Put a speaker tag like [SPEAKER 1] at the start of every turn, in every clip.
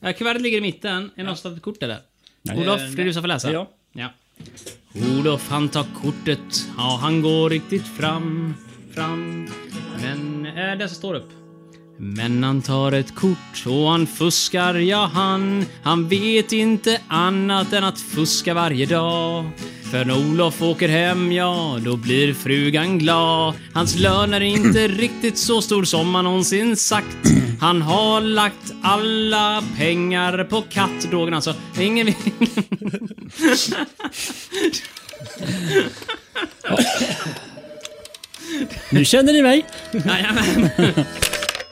[SPEAKER 1] Ja, kuvertet ligger i mitten. Är det någon som tagit kort eller?
[SPEAKER 2] Nej,
[SPEAKER 1] Olof,
[SPEAKER 2] eh,
[SPEAKER 1] det är du som får läsa.
[SPEAKER 2] det är jag.
[SPEAKER 1] Ja. Olof, han tar kortet. Ja, han går riktigt fram, fram. Men är den som står upp. Men han tar ett kort och han fuskar, ja han. Han vet inte annat än att fuska varje dag. För när Olof åker hem, ja, då blir frugan glad. Hans lön är inte riktigt så stor som han någonsin sagt. Han har lagt alla pengar på kattdrogen alltså. Ingen vill...
[SPEAKER 2] Nu känner ni mig.
[SPEAKER 1] Jajamän.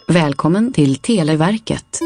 [SPEAKER 3] Välkommen till Televerket.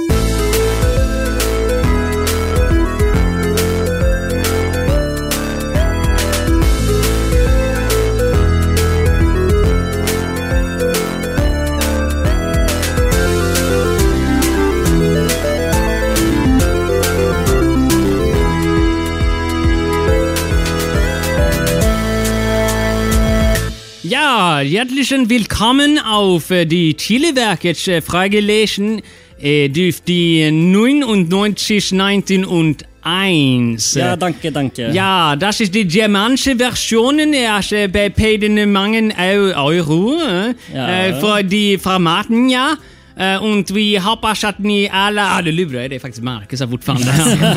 [SPEAKER 1] Ja, herzlich willkommen auf äh, die Telewerkets äh, Fragelesen äh, durch die 99, 19 und äh, 1.
[SPEAKER 2] Ja, danke, danke.
[SPEAKER 1] Ja, das ist die germanische Version, erst äh, bei beiden Mangen Eu- Euro äh,
[SPEAKER 2] Ja.
[SPEAKER 1] äh, för die Formaten, ja. Äh, Und vi hoppas att ni alla... Ja, du lurar ju. Det är faktiskt Marcus här fortfarande.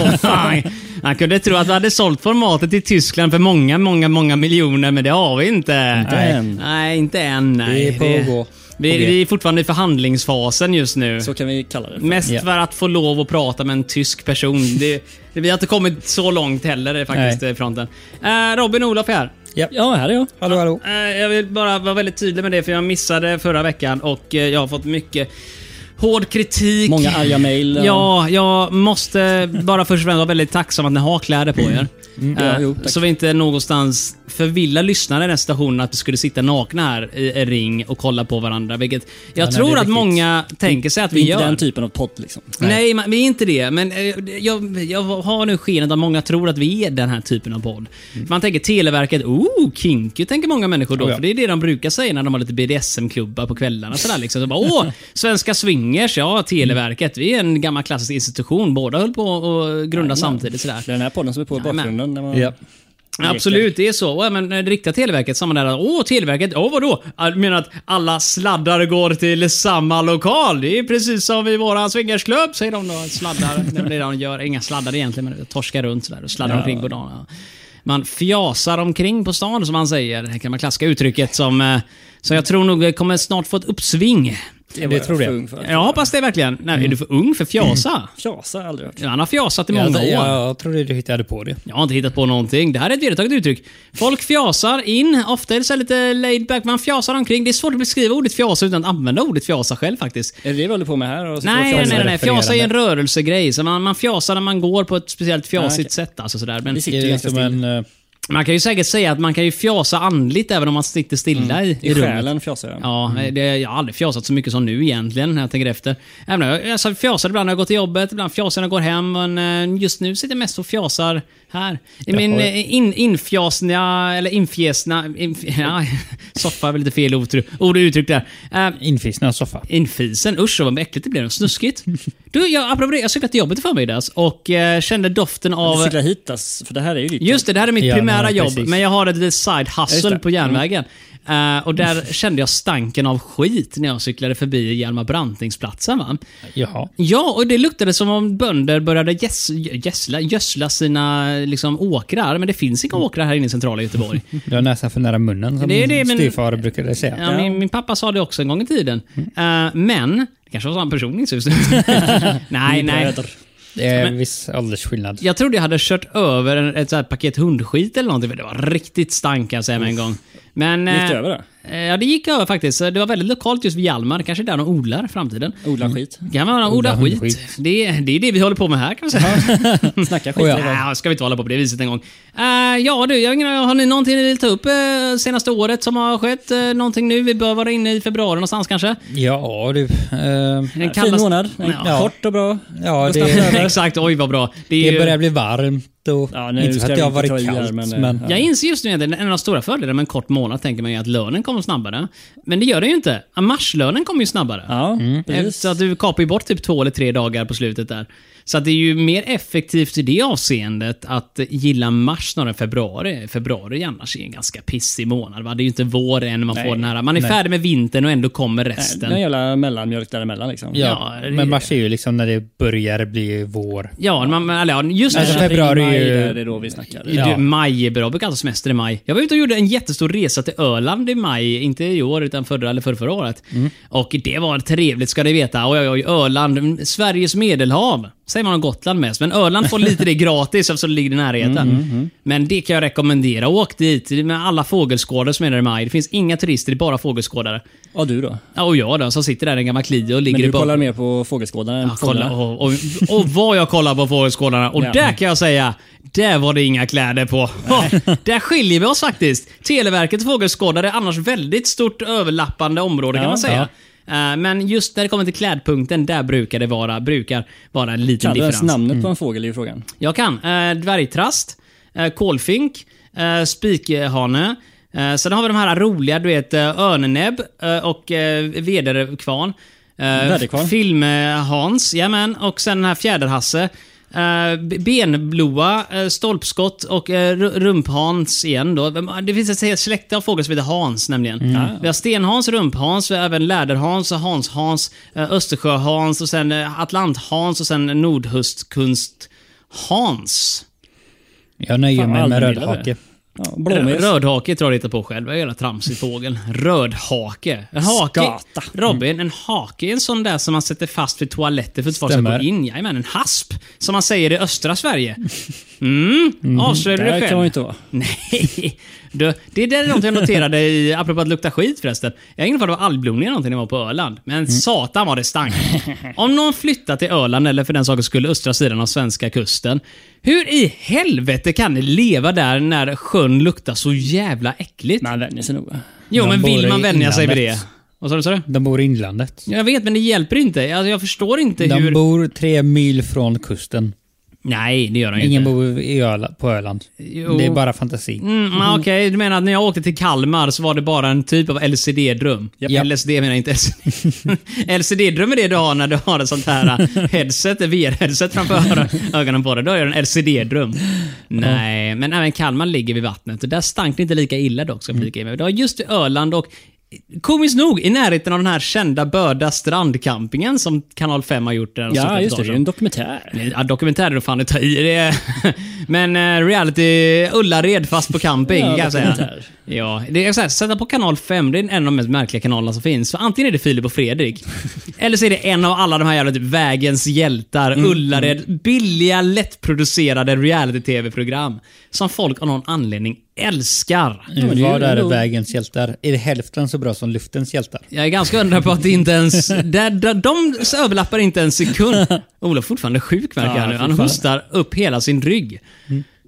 [SPEAKER 1] Vad fan. Man kunde tro att vi hade sålt formatet till Tyskland för många, många, många miljoner, men det har vi inte.
[SPEAKER 2] Inte
[SPEAKER 1] nej.
[SPEAKER 2] än.
[SPEAKER 1] Nej, inte än. Nej.
[SPEAKER 4] Det pågår.
[SPEAKER 1] Vi, vi är fortfarande i förhandlingsfasen just nu.
[SPEAKER 2] Så kan vi kalla det. för.
[SPEAKER 1] Mest
[SPEAKER 2] Ja.
[SPEAKER 1] för att få lov att prata med en tysk person. Det, det, vi har inte kommit så långt heller faktiskt,
[SPEAKER 2] Nej.
[SPEAKER 1] eh, fronten. Eh, Robin och Olof här.
[SPEAKER 2] Ja, här är jag.
[SPEAKER 4] Hallå, hallå.
[SPEAKER 1] Eh, jag vill bara vara väldigt tydlig med det, för jag missade förra veckan och eh, jag har fått mycket hård kritik.
[SPEAKER 2] Många arga mejl. och-
[SPEAKER 1] Ja, jag måste bara först och främst vara väldigt tacksam att ni har kläder på
[SPEAKER 2] Mm.
[SPEAKER 1] er.
[SPEAKER 2] ja,
[SPEAKER 1] Eh,
[SPEAKER 2] jo, tack.
[SPEAKER 1] så vi inte någonstans förvillar lyssnare i den här situationen att vi skulle sitta nakna här i en ring och kolla på varandra. Vilket jag
[SPEAKER 4] nej, det
[SPEAKER 1] tror
[SPEAKER 4] är
[SPEAKER 1] att
[SPEAKER 4] viktigt.
[SPEAKER 1] många tänker sig att vi
[SPEAKER 2] Vi är
[SPEAKER 1] gör.
[SPEAKER 2] inte den typen av podd liksom.
[SPEAKER 1] Nej, man, vi är inte det. Men eh, jag, jag har nu skenet att många tror att vi är den här typen av podd. Man tänker Televerket, oh, kinky tänker många människor då.
[SPEAKER 4] Oh, Mm. ja.
[SPEAKER 1] För det är det de brukar säga när de har lite BDSM-klubbar på kvällarna. Sådär, liksom. så bara, Åh, svenska swingers,
[SPEAKER 4] Mm.
[SPEAKER 1] ja, Televerket. Vi är en gammal klassisk institution. Båda höll på att grunda samtidigt. Sådär.
[SPEAKER 2] Det är den här podden som är på i
[SPEAKER 1] Jajamän.
[SPEAKER 2] bakgrunden. När man...
[SPEAKER 4] Ja.
[SPEAKER 1] Ja, Absolut, det är så. Och även det riktiga Televerket, samma där. Åh, Televerket, åh vadå? Jag menar att alla sladdar går till samma lokal? Det är precis som i våran swingersklubb, säger de då. Sladdar. Nej, men det är det de gör. Inga sladdar egentligen, men torskar runt sådär och sladdar omkring på dagarna. Man fjasar omkring på stan, som man säger. Det kan man klassiska uttrycket som... eh, Så jag tror nog kommer snart få ett uppsving.
[SPEAKER 2] Det var
[SPEAKER 4] Det
[SPEAKER 2] jag
[SPEAKER 4] tror
[SPEAKER 2] för
[SPEAKER 4] jag.
[SPEAKER 2] ung för. Mm.
[SPEAKER 1] Jag hoppas det verkligen. Nej, är du för ung för fjasa?
[SPEAKER 2] Fjasa har jag aldrig hört.
[SPEAKER 1] Han har fjasat i många
[SPEAKER 4] Jag,
[SPEAKER 1] år.
[SPEAKER 4] jag, jag trodde du hittade på det.
[SPEAKER 1] Jag har inte hittat på någonting. Det här är ett vedertaget uttryck. Folk fjasar in, ofta är det så här lite laid back, man fjasar omkring. Det är svårt att beskriva ordet fjasa utan att använda ordet fjasa själv faktiskt.
[SPEAKER 2] Är det det vi håller på med här? Och så-
[SPEAKER 1] Nej, nej,
[SPEAKER 2] och så-
[SPEAKER 1] nej, nej. Fjasa är en
[SPEAKER 4] refererande.
[SPEAKER 1] rörelsegrej. Så man, man fjasar när man går på ett speciellt fjasigt
[SPEAKER 2] Ja, okej.
[SPEAKER 1] sätt. Alltså sådär. Men
[SPEAKER 2] Vi sitter
[SPEAKER 4] Det
[SPEAKER 2] ju
[SPEAKER 4] är
[SPEAKER 2] ganska
[SPEAKER 4] som
[SPEAKER 2] still.
[SPEAKER 4] en... eh,
[SPEAKER 1] man kan ju säkert säga att man kan ju fjasa andligt även om man sitter stilla i,
[SPEAKER 2] Mm. I
[SPEAKER 1] i rummet.
[SPEAKER 2] själen fjasar jag.
[SPEAKER 4] Mm.
[SPEAKER 1] Ja, det, jag har aldrig fjasat så mycket som nu egentligen när jag tänker efter. Även om jag, alltså, jag fjasar ibland när jag går till jobbet, ibland fjasar när jag går hem. Men eh, just nu sitter jag mest och fjasar här. I min
[SPEAKER 4] Jaha.
[SPEAKER 1] eh, in, infjasna, eller infjäsna... Inf, ja, soffa är väl lite fel ord, ord och uttryck där. Eh,
[SPEAKER 4] Infisnad soffa.
[SPEAKER 1] Infisen, usch vad äckligt det blev. och Snuskigt. Du, jag, apropå det, jag cyklade till jobbet i förmiddags och eh, kände doften
[SPEAKER 2] Du
[SPEAKER 1] av...
[SPEAKER 2] cyklar hit alltså, för det här är ju ditt
[SPEAKER 1] Just det, det här är mitt
[SPEAKER 4] Ja,
[SPEAKER 1] primära
[SPEAKER 4] nej,
[SPEAKER 1] jobb,
[SPEAKER 4] precis.
[SPEAKER 1] men jag har ett litet side hustle
[SPEAKER 2] Just det. Mm.
[SPEAKER 1] på järnvägen. Eh, och där kände jag stanken av skit när jag cyklade förbi Hjalmar Brantingsplatsen. Va?
[SPEAKER 4] Jaha.
[SPEAKER 1] Ja, och det luktade som om bönder började gäss- gässla, gödsla sina liksom, åkrar, men det finns
[SPEAKER 2] Mm.
[SPEAKER 1] inga åkrar här inne i centrala Göteborg.
[SPEAKER 4] Du har näsan för nära munnen som
[SPEAKER 1] Det är det,
[SPEAKER 4] min
[SPEAKER 1] men-
[SPEAKER 4] styvfar brukade säga.
[SPEAKER 1] Ja, min, min pappa sa det också en gång i tiden.
[SPEAKER 2] Mm.
[SPEAKER 1] Eh, men, det kanske var samma person i just nu. Nej, nej.
[SPEAKER 2] bröder.
[SPEAKER 4] Det är
[SPEAKER 1] Men-
[SPEAKER 4] en viss åldersskillnad.
[SPEAKER 1] Jag trodde jag hade kört över en- ett så här paket hundskit eller någonting, för det var riktigt stank kan jag säga med en gång. Men,
[SPEAKER 2] Gick det
[SPEAKER 1] eh,
[SPEAKER 2] över det?
[SPEAKER 1] Eh, Ja, det gick över faktiskt. Det var väldigt lokalt just vid Hjalmar. Kanske där de odlar i framtiden.
[SPEAKER 2] Odla skit.
[SPEAKER 1] Kan man odla
[SPEAKER 4] Odla
[SPEAKER 1] skit.
[SPEAKER 4] hundskit.
[SPEAKER 1] Det, är- det är det vi håller på med här kan man säga.
[SPEAKER 2] Snacka skit.
[SPEAKER 4] Oh, ja.
[SPEAKER 1] Nej, ska vi inte hålla på på det viset en gång. Eh, ja du, jag, har ingen- har ni någonting ni vill ta upp eh, senaste året som har skett? Uh, någonting nu? Vi bör vara inne i februari någonstans kanske?
[SPEAKER 4] Ja, du. ehm,
[SPEAKER 1] Den
[SPEAKER 2] Fin månad.
[SPEAKER 1] Ja.
[SPEAKER 2] Kort och bra.
[SPEAKER 4] ja,
[SPEAKER 2] snabbt
[SPEAKER 4] det,
[SPEAKER 2] över.
[SPEAKER 1] Exakt, oj vad bra. Det, är
[SPEAKER 4] det
[SPEAKER 1] ju-
[SPEAKER 4] börjar bli varmt kallt och...
[SPEAKER 2] Ja, nu
[SPEAKER 4] inte
[SPEAKER 2] ska
[SPEAKER 4] för att
[SPEAKER 2] vi inte
[SPEAKER 4] det har
[SPEAKER 2] ta
[SPEAKER 4] varit
[SPEAKER 2] i här,
[SPEAKER 4] kallt,
[SPEAKER 2] men, eh,
[SPEAKER 4] men...
[SPEAKER 2] ja.
[SPEAKER 1] Jag inser just nu att en av de stora fördelarna med en kort månad tänker man ju att lönen kommer snabbare. Men det gör den ju inte. Marslönen kommer ju snabbare.
[SPEAKER 2] Ja, precis.
[SPEAKER 1] Så att du kapar ju bort typ två eller tre dagar på slutet där. Så att det är ju mer effektivt i det avseendet att gilla mars snarare än februari. Februari annars är en ganska pissig månad. Va? Det är ju inte vår än man
[SPEAKER 2] Nej.
[SPEAKER 1] får den här. Man är färdig med vintern och ändå kommer resten.
[SPEAKER 2] Någon jävla mellanmjölk däremellan liksom.
[SPEAKER 4] Ja,
[SPEAKER 1] Ja, det-
[SPEAKER 4] men mars är ju liksom när det börjar bli vår.
[SPEAKER 1] Ja, man, men, eller, ja, just
[SPEAKER 4] Alltså,
[SPEAKER 1] nu.
[SPEAKER 2] April,
[SPEAKER 4] februari är
[SPEAKER 2] maj,
[SPEAKER 4] ju-
[SPEAKER 2] där, Det är då vi snackar.
[SPEAKER 4] Ja.
[SPEAKER 1] Du, maj är bra. Jag brukar alltid ha semester i maj. Jag var ute och gjorde en jättestor resa till Öland i maj. Inte i år, utan förra eller förra, förra året.
[SPEAKER 2] Mm.
[SPEAKER 1] Och det var trevligt ska ni veta. Oj, oj, oj, Öland. mm, Sveriges medelhav. Säger man om Gotland mest. Men Öland får lite det gratis eftersom det ligger i närheten.
[SPEAKER 2] Mm,
[SPEAKER 1] Men det kan jag rekommendera. Åk dit med alla fågelskådare som är där i maj. Det finns inga turister, det är bara fågelskådare.
[SPEAKER 2] Ja, du då?
[SPEAKER 1] Ja, och jag då, som sitter där i en gammal Clio och ligger
[SPEAKER 2] Men
[SPEAKER 1] i
[SPEAKER 2] du
[SPEAKER 1] bak-
[SPEAKER 2] kollar mer på fågelskådaren? än
[SPEAKER 1] Ja, kolla,
[SPEAKER 2] fåglarna.
[SPEAKER 1] och, och, och vad jag kollar på fågelskådarna. Och
[SPEAKER 2] Ja.
[SPEAKER 1] där kan jag säga, där var det inga kläder på. där skiljer vi oss faktiskt. Televerkets fågelskådare är annars väldigt stort överlappande område kan
[SPEAKER 2] Ja,
[SPEAKER 1] man säga. Eh, Men just när det kommer till klädpunkten, där brukar det vara, brukar vara en liten
[SPEAKER 2] Kan du ens
[SPEAKER 1] differens.
[SPEAKER 2] namnet på en fågel är ju frågan.
[SPEAKER 1] Jag kan. Eh, dvärgtrast, eh, kolfink, eh, spikhane. Eh, sen har vi de här roliga, du vet, eh, örnenäbb eh, och eh, vederkvarn. Eh,
[SPEAKER 2] Väderkvarn.
[SPEAKER 1] Film-Hans, eh, jajamän. Och sen den här fjäderhasse. Eh, b- benbloa, eh, stolpskott och eh, ru- rumphans igen då. Det finns ett helt släkte av fåglar som heter Hans nämligen. Vi har stenhans, rumphans, vi har även läderhans, och hanshans, eh, östersjöhans och sen eh, atlanthans och sen nordhustkunst Hans.
[SPEAKER 4] Jag nöjer
[SPEAKER 2] Fan,
[SPEAKER 4] mig med
[SPEAKER 2] aldrig gillade
[SPEAKER 4] rödhake.
[SPEAKER 2] Ja,
[SPEAKER 1] Rö-
[SPEAKER 2] Blåmes.
[SPEAKER 1] Rödhake tror jag det hittar på själv. Jag är en jävla tramsig fågel. Rödhake. En hake.
[SPEAKER 2] Skata.
[SPEAKER 1] Robin, en hake är en sån där som man sätter fast vid toaletter för att folk ska
[SPEAKER 4] Stämmer.
[SPEAKER 1] gå in. Jajamän, en hasp. Som man säger i östra Sverige. Mm, avslöjar du dig
[SPEAKER 2] Där kan
[SPEAKER 1] själv?
[SPEAKER 2] man ju inte vara.
[SPEAKER 1] Nej. Du, det är det något jag noterade, i, apropå att lukta skit förresten. Jag har ingen aning om det var algblomning eller någonting när jag var på Öland. Men
[SPEAKER 4] Mm.
[SPEAKER 1] satan vad det stank. Om någon flyttar till Öland, eller för den saken skulle östra sidan av svenska kusten. Hur i helvete kan ni leva där när sjön luktar så jävla äckligt?
[SPEAKER 2] Man vänjer sig nog.
[SPEAKER 1] jo,
[SPEAKER 4] de
[SPEAKER 1] men
[SPEAKER 4] bor
[SPEAKER 1] vill
[SPEAKER 4] i
[SPEAKER 1] man vänja sig vid det?
[SPEAKER 4] inlandet.
[SPEAKER 1] Vad sa du? Sa du?
[SPEAKER 4] De bor i inlandet.
[SPEAKER 1] Jag vet, men det hjälper inte. Alltså, jag förstår inte hur...
[SPEAKER 4] De bor tre mil från kusten.
[SPEAKER 1] Nej, det gör de ju
[SPEAKER 4] Ingen
[SPEAKER 1] inte.
[SPEAKER 4] bor i Öla, på Öland.
[SPEAKER 1] Jo.
[SPEAKER 4] Det är bara fantasi.
[SPEAKER 1] Mm,
[SPEAKER 2] Mm-hmm.
[SPEAKER 1] ah, Okej, du menar att när jag åkte till Kalmar så var det bara en typ av LCD-dröm?
[SPEAKER 4] Japp.
[SPEAKER 1] LSD menar jag inte LCD-dröm är det du har när du har ett sånt här eh, headset, VR-headset framför öron- ögonen på dig. Då är det en LCD-dröm. Nej, men även Kalmar ligger vid vattnet och där stank det inte lika illa dock, ska jag flika in med. Det var just vid Öland och Komiskt nog i närheten av den här kända Böda strandcampingen som Kanal 5 har gjort. Där,
[SPEAKER 2] Ja, just det. Det är ju en dokumentär.
[SPEAKER 1] Ja, dokumentärer då fan det tar i. Det är, men eh, reality Ullared fast på camping
[SPEAKER 2] Ja,
[SPEAKER 1] kan jag säga.
[SPEAKER 2] dokumentär.
[SPEAKER 1] Ja, det är så här, sätta på kanal 5, det är en av de mest märkliga kanalerna som finns. För antingen är det Filip och Fredrik, eller så är det en av alla de här jävla typ Vägens hjältar,
[SPEAKER 2] Mm,
[SPEAKER 1] Ullared, billiga lättproducerade reality-tv-program. Som folk av någon anledning älskar.
[SPEAKER 2] Ja, men det är ju
[SPEAKER 4] Vad är
[SPEAKER 2] ändå-
[SPEAKER 4] vägens hjältar? Är det hälften så bra som luftens hjältar?
[SPEAKER 1] Jag är ganska undra på att det inte ens... Där, där, de överlappar inte en sekund. Olof fortfarande sjuk verkar
[SPEAKER 2] Ja,
[SPEAKER 1] han nu. Han
[SPEAKER 2] fortfarande. Mm.
[SPEAKER 1] hostar upp hela sin rygg.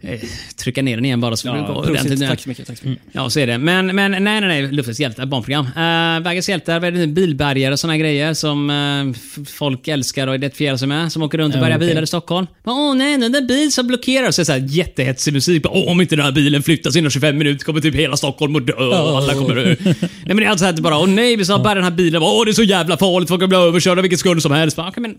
[SPEAKER 1] Eh, Trycka ner den igen bara så det går
[SPEAKER 2] Ja,
[SPEAKER 1] ordentligt. Mm.
[SPEAKER 2] prosit.
[SPEAKER 1] ner.
[SPEAKER 2] Tack så mycket. Tack så mycket.
[SPEAKER 1] Ja, så är det. Men, men nej, nej, nej. Luftens hjältar, barnprogram. Uh, Vägens hjältar, vad är det nu? bilbärgare och såna grejer som eh, f- folk älskar och identifierar sig med. Som åker runt och bärgar bilar i Stockholm. Bara, Åh nej, den där bil som blockerar. Så är det så här jättehetsig musik. Bara, Åh, om inte den här bilen flyttas inom 25 minuter kommer typ hela Stockholm att dö. och Alla kommer dö. nej, men det är alltså så här, typ bara, åh nej, vi ska bära den här bilen. Åh, det är så jävla farligt. Folk kommer bli överkörda av vilken skuld som helst. Bara, "Okej, men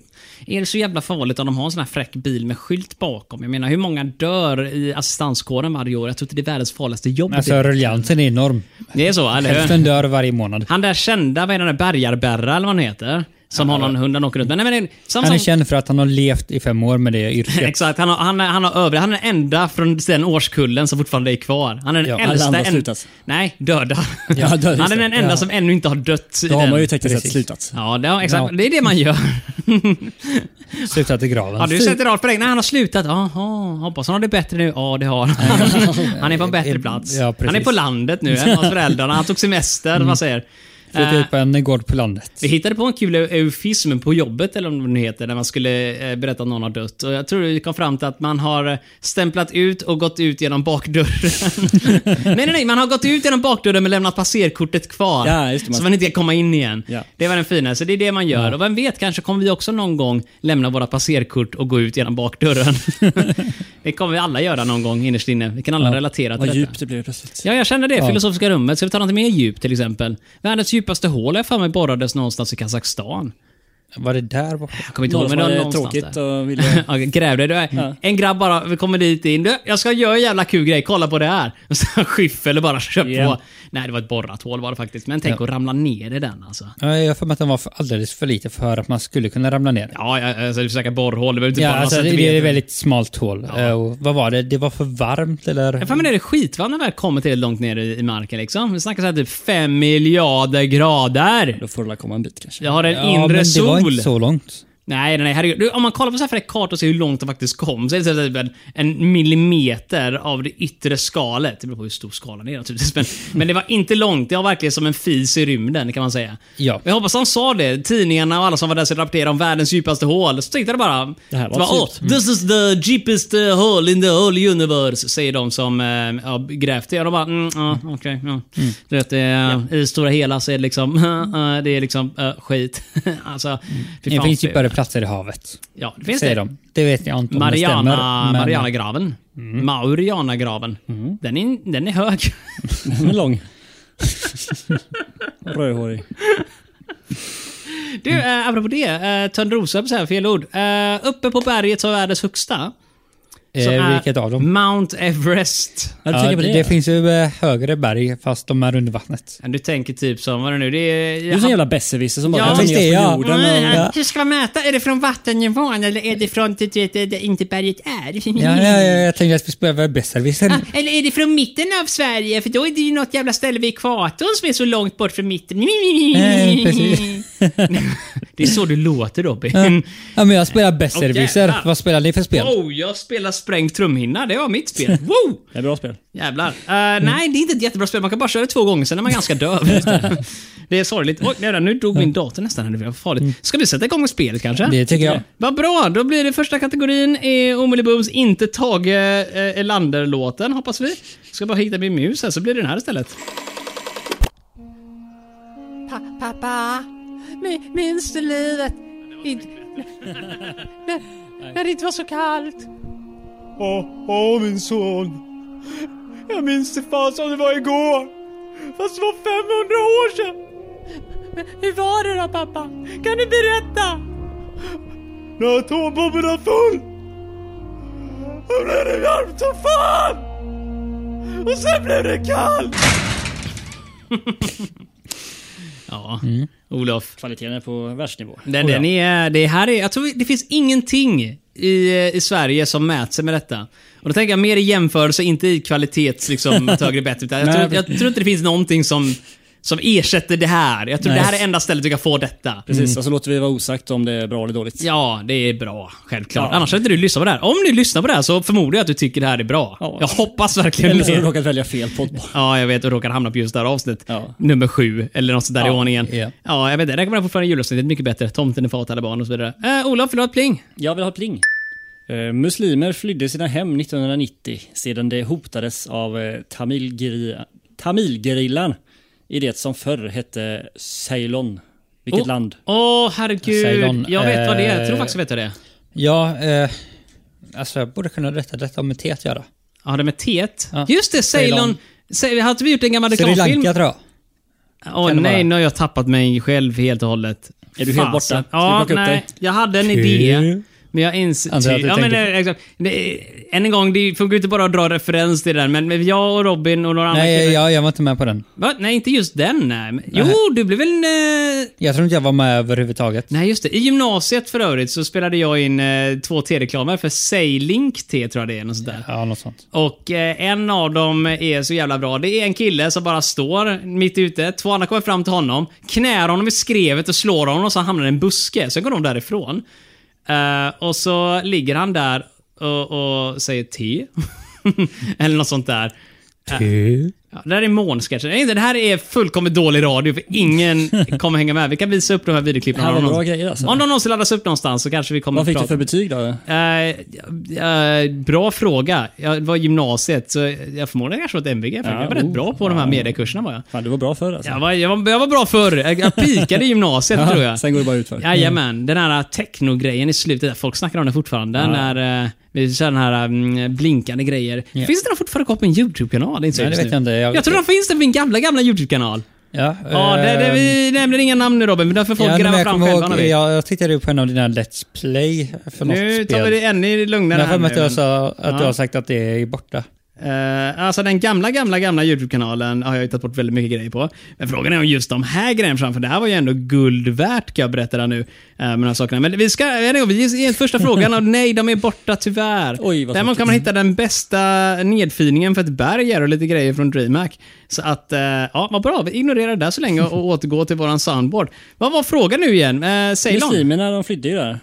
[SPEAKER 1] är det så jävla farligt om de har en sån här fräck bil med skylt bakom? Jag menar, hur många dör i assistanskåren varje år? Jag tror inte det är världens farligaste jobb.
[SPEAKER 4] Alltså ruljansen är enorm.
[SPEAKER 1] Det är så, eller hur?
[SPEAKER 4] Hälften dör varje månad.
[SPEAKER 1] Han där kända, vad är den där Bergarberra eller vad han heter? Som har någon hund han åker runt med. Nej, men det är- som,
[SPEAKER 4] Han är
[SPEAKER 1] som-
[SPEAKER 4] känd för att han har levt i fem år med det yrket.
[SPEAKER 1] Exakt, han har, han, har- han har övriga, han är den enda från den årskullen som fortfarande är kvar. Han är den
[SPEAKER 4] Ja, alla
[SPEAKER 1] äldsta...
[SPEAKER 2] andra
[SPEAKER 1] en-
[SPEAKER 2] slutas.
[SPEAKER 1] Nej, döda.
[SPEAKER 2] Ja, döda, just
[SPEAKER 1] han är den
[SPEAKER 2] det.
[SPEAKER 1] enda som ännu inte har dött. i
[SPEAKER 2] Då har
[SPEAKER 1] den.
[SPEAKER 2] man ju tekniskt sett
[SPEAKER 4] Precis.
[SPEAKER 2] slutat.
[SPEAKER 1] Ja, det, ja, exakt. Det är det man gör.
[SPEAKER 4] Slutat i
[SPEAKER 1] Har
[SPEAKER 4] graven.
[SPEAKER 1] du sett det rakt på dig? Nej, han har slutat. Jaha, hoppas han har det bättre nu. Ja, det har han. Han är på en bättre plats.
[SPEAKER 4] Ja, precis.
[SPEAKER 1] han är på landet nu, hemma hos föräldrarna. Han tog semester, vad säger?
[SPEAKER 4] Flyttat
[SPEAKER 1] Eh,
[SPEAKER 4] upp typ en gård på landet.
[SPEAKER 1] Vi hittade på en kul eufism på jobbet, eller vad det nu heter, när man skulle eh, berätta att någon har dött. Och jag tror vi kom fram till att man har eh, stämplat ut och gått ut genom bakdörren. nej, nej, nej. Man har gått ut genom bakdörren men lämnat passerkortet kvar.
[SPEAKER 2] Ja, just det, man-
[SPEAKER 1] Så man inte kan komma in igen.
[SPEAKER 2] Ja.
[SPEAKER 1] Det var den fina. Så det är det man gör. Och vem vet, kanske kommer vi också någon gång lämna våra passerkort och gå ut genom bakdörren. Det kommer vi alla göra någon gång innerst inne. Vi kan alla relatera till
[SPEAKER 2] Vad
[SPEAKER 1] detta.
[SPEAKER 2] djupt det blev plötsligt.
[SPEAKER 1] Ja, jag känner det.
[SPEAKER 4] Ja.
[SPEAKER 1] Filosofiska rummet. Ska vi ta något mer djupt till exempel? Världens djupaste hål jag för mig borrades någonstans i Kazakstan.
[SPEAKER 4] Var det där borta?
[SPEAKER 1] Jag kommer inte ihåg, men det var någonstans
[SPEAKER 2] tråkigt
[SPEAKER 1] där.
[SPEAKER 2] och ville...
[SPEAKER 1] Ja, gräv dig. Du är-
[SPEAKER 2] Ja.
[SPEAKER 1] En grabb bara, vi kommer dit in. Du, jag ska göra en jävla kul grej, kolla på det här. Och så en skyffel och bara kör
[SPEAKER 2] Igen.
[SPEAKER 1] på. Nej, det var ett borrat hål var det faktiskt. Men tänk att ramla ner i den alltså.
[SPEAKER 4] Ja, Jag har för mig att den var för- alldeles för lite för att man skulle kunna ramla ner.
[SPEAKER 1] Ja, jag, alltså, du försöker borrhål. Det behöver inte
[SPEAKER 4] Ja,
[SPEAKER 1] bara vara
[SPEAKER 4] alltså, det det är ett
[SPEAKER 1] centimeter.
[SPEAKER 4] väldigt smalt hål. Eh, Och vad var det? Det var för varmt eller?
[SPEAKER 1] Jag har för mig det är skitvarmt när man väl kommer till långt ner i i marken liksom. Vi snackar såhär typ 5 miljarder grader.
[SPEAKER 2] Då får det väl komma en bit kanske.
[SPEAKER 1] Jag har en
[SPEAKER 4] men
[SPEAKER 1] inre
[SPEAKER 4] det var
[SPEAKER 1] sol.
[SPEAKER 4] inte så långt.
[SPEAKER 1] Nej, nej, herregud. Du, om man kollar på så här kartor och ser hur långt de faktiskt kom, så är det så här typ en, en millimeter av det yttre skalet. Det beror på hur stor skalan är naturligtvis. Men, men det var inte långt. Det var verkligen som en fis i rymden, kan man säga.
[SPEAKER 4] Ja.
[SPEAKER 1] Jag hoppas han sa det. Tidningarna och alla som var där skulle rapportera om världens djupaste hål. Så tänkte jag bara...
[SPEAKER 2] Det här var
[SPEAKER 1] bara,
[SPEAKER 2] så
[SPEAKER 1] "Åh, This is the deepest eh, hole in the whole universe, säger de som eh, ja, grävt det. Och de bara, mm, ja, okej. ja. Du vet, det, är- I det stora hela så är det liksom... eh, det är liksom eh, skit. alltså, fy
[SPEAKER 4] Det
[SPEAKER 1] fan,
[SPEAKER 4] finns
[SPEAKER 1] fy-
[SPEAKER 4] djupare platser i havet.
[SPEAKER 1] Ja, det finns
[SPEAKER 4] säger
[SPEAKER 1] det.
[SPEAKER 4] de. Det vet jag inte om det
[SPEAKER 1] Mariana,
[SPEAKER 4] stämmer. men- eh, Mm.
[SPEAKER 1] Marianagraven. Maurianagraven. Den, är, den är hög.
[SPEAKER 2] Den är lång. Rödhårig.
[SPEAKER 1] Du, eh, apropå det. Eh, Törnrosa, så här, fel ord. Eh, uppe på berget som är världens högsta. som
[SPEAKER 4] Eh,
[SPEAKER 1] är
[SPEAKER 4] vilket av dem?
[SPEAKER 1] Mount Everest.
[SPEAKER 2] Ja, du
[SPEAKER 4] Ja,
[SPEAKER 2] tänker
[SPEAKER 4] det,
[SPEAKER 2] på det?
[SPEAKER 4] det finns ju eh, högre berg fast de är under vattnet.
[SPEAKER 1] Du tänker typ som, vad är det nu? Det är...
[SPEAKER 2] Du är en sån jävla besserwisser som bara
[SPEAKER 1] Ja,
[SPEAKER 2] kastar
[SPEAKER 1] visst
[SPEAKER 4] är
[SPEAKER 2] ner på
[SPEAKER 4] jag.
[SPEAKER 2] jorden. Och,
[SPEAKER 1] Nej, Hur ska man mäta? Är det från vattennivån eller är det från du vet, där inte berget är?
[SPEAKER 4] Ja, ja, ja, jag tänkte att vi skulle behöva besserwissern.
[SPEAKER 1] Ah, Eller är det från mitten av Sverige? För då är det ju något jävla ställe vid ekvatorn som är så långt bort från mitten.
[SPEAKER 4] Eh, precis.
[SPEAKER 1] det är så du låter Robin.
[SPEAKER 4] Ja, men jag spelar besserwisser.
[SPEAKER 1] Åh, jävlar.
[SPEAKER 4] Vad spelar ni för spel?
[SPEAKER 1] Wow, jag spelar sprängd trumhinna. Det var mitt spel. Wow!
[SPEAKER 2] det är bra spel.
[SPEAKER 1] Jävlar. Eh,
[SPEAKER 4] Mm.
[SPEAKER 1] Nej, det är inte ett jättebra spel. Man kan bara köra det två gånger, sen är man ganska döv. det är sorgligt. Oj, nej, nu dog min dator nästan. här. Det var farligt. Ska vi sätta igång med spelet kanske?
[SPEAKER 4] Mm. Det tycker jag.
[SPEAKER 1] Vad bra, då blir det första kategorin är Omeli Booms inte Tage eh, Erlander-låten, hoppas vi. Ska bara hitta min mus här så blir det den här istället.
[SPEAKER 5] Pa- pappa, mi- minns du livet? Inte- när, när det inte var så kallt?
[SPEAKER 6] Åh, åh min son. Jag minns det fan som det var igår. Fast det var 500 år sedan.
[SPEAKER 5] Men Hur var det då pappa? Kan du berätta?
[SPEAKER 6] När atombomben var full. Då blev det varmt som fan. Och sen blev det kallt.
[SPEAKER 1] Ja,
[SPEAKER 2] Mm.
[SPEAKER 1] Olof.
[SPEAKER 2] Kvaliteten är på världsnivå.
[SPEAKER 1] Den, den är, det här är, jag tror vi- det finns ingenting i, i Sverige som mäter sig med detta. Och då tänker jag mer i jämförelse, inte i kvalitets liksom, ett högre bättre. Utan jag,
[SPEAKER 4] Nej,
[SPEAKER 1] tror, jag tror inte det finns någonting som, som ersätter det här. Jag tror
[SPEAKER 4] Nej.
[SPEAKER 1] det här är enda stället du kan få detta.
[SPEAKER 2] Precis, och så låter vi vara osagt om det är bra eller dåligt.
[SPEAKER 1] Ja, det är bra. Självklart. Annars hade inte du lyssnat på det här. Om du lyssnar på det här så förmodar jag att du tycker det här är bra.
[SPEAKER 2] Ja.
[SPEAKER 1] Jag hoppas verkligen
[SPEAKER 2] Eller så har du
[SPEAKER 1] det.
[SPEAKER 2] råkat välja fel podd bara.
[SPEAKER 1] Ja, jag vet. Och råkar hamna på just det här avsnittet.
[SPEAKER 2] Ja.
[SPEAKER 1] Nummer sju, eller något sånt där i
[SPEAKER 2] Ja,
[SPEAKER 1] ordningen.
[SPEAKER 4] ja.
[SPEAKER 1] Ja, jag vet inte. Det kommer fortfarande julavsnittet mycket bättre. Tomten är far åt alla barn och så vidare. Eh, Olof, vill du ha ett pling?
[SPEAKER 2] Jag vill ha pling. Eh, muslimer flydde sina hem 1990 sedan de hotades av eh, tamilgeri- tamilgerillan i det som förr hette Ceylon. Vilket
[SPEAKER 1] Oh.
[SPEAKER 2] land?
[SPEAKER 1] Åh, herregud.
[SPEAKER 4] Ceylon,
[SPEAKER 1] jag vet vad det är. Jag
[SPEAKER 4] eh,
[SPEAKER 1] tror faktiskt jag vet vad det är.
[SPEAKER 4] Ja, eh, alltså jag borde kunna rätta detta om ett T att göra.
[SPEAKER 1] Ja, det med T.
[SPEAKER 4] Ja.
[SPEAKER 1] Just det, Ceylon.
[SPEAKER 4] Ceylon.
[SPEAKER 1] Ceylon. Har inte vi gjort en gammal
[SPEAKER 4] Sri
[SPEAKER 1] reklamfilm?
[SPEAKER 4] Lanka tror jag.
[SPEAKER 1] Åh
[SPEAKER 4] Kan det
[SPEAKER 1] nej,
[SPEAKER 4] vara?
[SPEAKER 1] nu har jag tappat mig själv helt och hållet.
[SPEAKER 2] Är du helt borta? Ska vi
[SPEAKER 1] Ja,
[SPEAKER 2] plocka upp
[SPEAKER 1] nej.
[SPEAKER 2] dig?
[SPEAKER 1] Jag hade en idé. Men jag inser...
[SPEAKER 4] Antar jag att du
[SPEAKER 1] ja, men,
[SPEAKER 4] tänker-
[SPEAKER 1] eh, exakt. Det, än en gång, det funkar ju inte bara att dra referens till den, men men jag och Robin och några andra
[SPEAKER 4] Nej,
[SPEAKER 1] killar-
[SPEAKER 4] jag, jag var inte med på den.
[SPEAKER 1] Va? Nej, inte just den. Nej. Men- Jo, du blev väl... eh,
[SPEAKER 4] Jag tror inte jag var med överhuvudtaget.
[SPEAKER 1] Nej, just det. I gymnasiet för övrigt så spelade jag in eh, två T-reklamer för Sailink T, tror jag det är. Något sånt där.
[SPEAKER 4] Ja, något sånt.
[SPEAKER 1] Och eh, en av dem är så jävla bra. Det är en kille som bara står mitt ute. Två andra kommer fram till honom, knär honom i skrevet och slår honom och så hamnar i en buske. Sen går de därifrån. Eh, och så ligger han där och, och säger T. Eller något sånt där.
[SPEAKER 4] T.
[SPEAKER 1] Eh, Ja, det här är månsketchen. Nej, inte, Det här är fullkomligt dålig radio för ingen kommer hänga med. Vi kan visa upp de här videoklippen.
[SPEAKER 2] Det
[SPEAKER 1] om
[SPEAKER 2] här var
[SPEAKER 1] de
[SPEAKER 2] bra
[SPEAKER 1] någonsin-
[SPEAKER 2] grejer alltså.
[SPEAKER 1] Om de någonsin laddas upp någonstans så kanske vi kommer
[SPEAKER 2] Vad fick
[SPEAKER 1] prata-
[SPEAKER 2] du för betyg då?
[SPEAKER 1] Eh, eh, bra fråga. Jag var i gymnasiet, så jag förmodar kanske var ett MVG. för
[SPEAKER 2] Ja,
[SPEAKER 1] jag var rätt
[SPEAKER 2] oh,
[SPEAKER 1] bra på de här
[SPEAKER 2] ja.
[SPEAKER 1] mediekurserna var jag.
[SPEAKER 2] Fan, du var bra förr alltså.
[SPEAKER 1] Jag var, jag var, jag var bra förr. Jag, jag pikade i gymnasiet
[SPEAKER 2] Ja,
[SPEAKER 1] tror jag.
[SPEAKER 2] Sen går det bara utför.
[SPEAKER 4] Mm.
[SPEAKER 2] Mm.
[SPEAKER 1] Jajamän, den här techno-grejen i slutet, folk snackar om den fortfarande. Den här, eh, vi kör den här mm, blinkande grejer.
[SPEAKER 4] Ja.
[SPEAKER 1] Finns det den fortfarande kvar på en YouTube-kanal? Det är inte så
[SPEAKER 4] Nej, det
[SPEAKER 1] just
[SPEAKER 4] vet
[SPEAKER 1] nu.
[SPEAKER 4] jag inte. Jag,
[SPEAKER 1] Jag tror den finns där på min gamla, gamla YouTube-kanal.
[SPEAKER 4] Ja,
[SPEAKER 1] Ja, det, det,
[SPEAKER 4] eh,
[SPEAKER 1] vi nämner inga namn nu Robin, men där får folk
[SPEAKER 4] ja, men
[SPEAKER 1] gräva
[SPEAKER 4] jag
[SPEAKER 1] fram
[SPEAKER 4] kommer
[SPEAKER 1] själva. när
[SPEAKER 4] ihåg,
[SPEAKER 1] vi-
[SPEAKER 4] jag, jag tittade ju på en av dina Let's Play för något
[SPEAKER 1] Nu
[SPEAKER 4] spel.
[SPEAKER 1] tar vi det ännu
[SPEAKER 4] Men
[SPEAKER 1] lugnare
[SPEAKER 4] jag har för mig att,
[SPEAKER 1] nu,
[SPEAKER 4] jag sa, att
[SPEAKER 1] Ja.
[SPEAKER 4] du har sagt att det är borta.
[SPEAKER 1] Eh, alltså den gamla, gamla, gamla YouTube-kanalen har jag ju tagit bort väldigt mycket grejer på. Men frågan är om just de här grejerna framför. Det här var ju ändå guld värt kan jag berätta där nu. Uh, med de här sakerna. Men vi ska, jag vet inte, vi ger första frågan och nej, de är borta tyvärr.
[SPEAKER 2] Oj, vad
[SPEAKER 1] Däremot kan man hitta den bästa nedfiningen för ett berg här och lite grejer från DreamHack. Så att, eh, ja vad bra. Vi ignorerar det där så länge och, och återgår till våran soundboard. Vad var frågan nu igen? Uh, Ceylon?
[SPEAKER 2] Muslimerna de flydde ju där.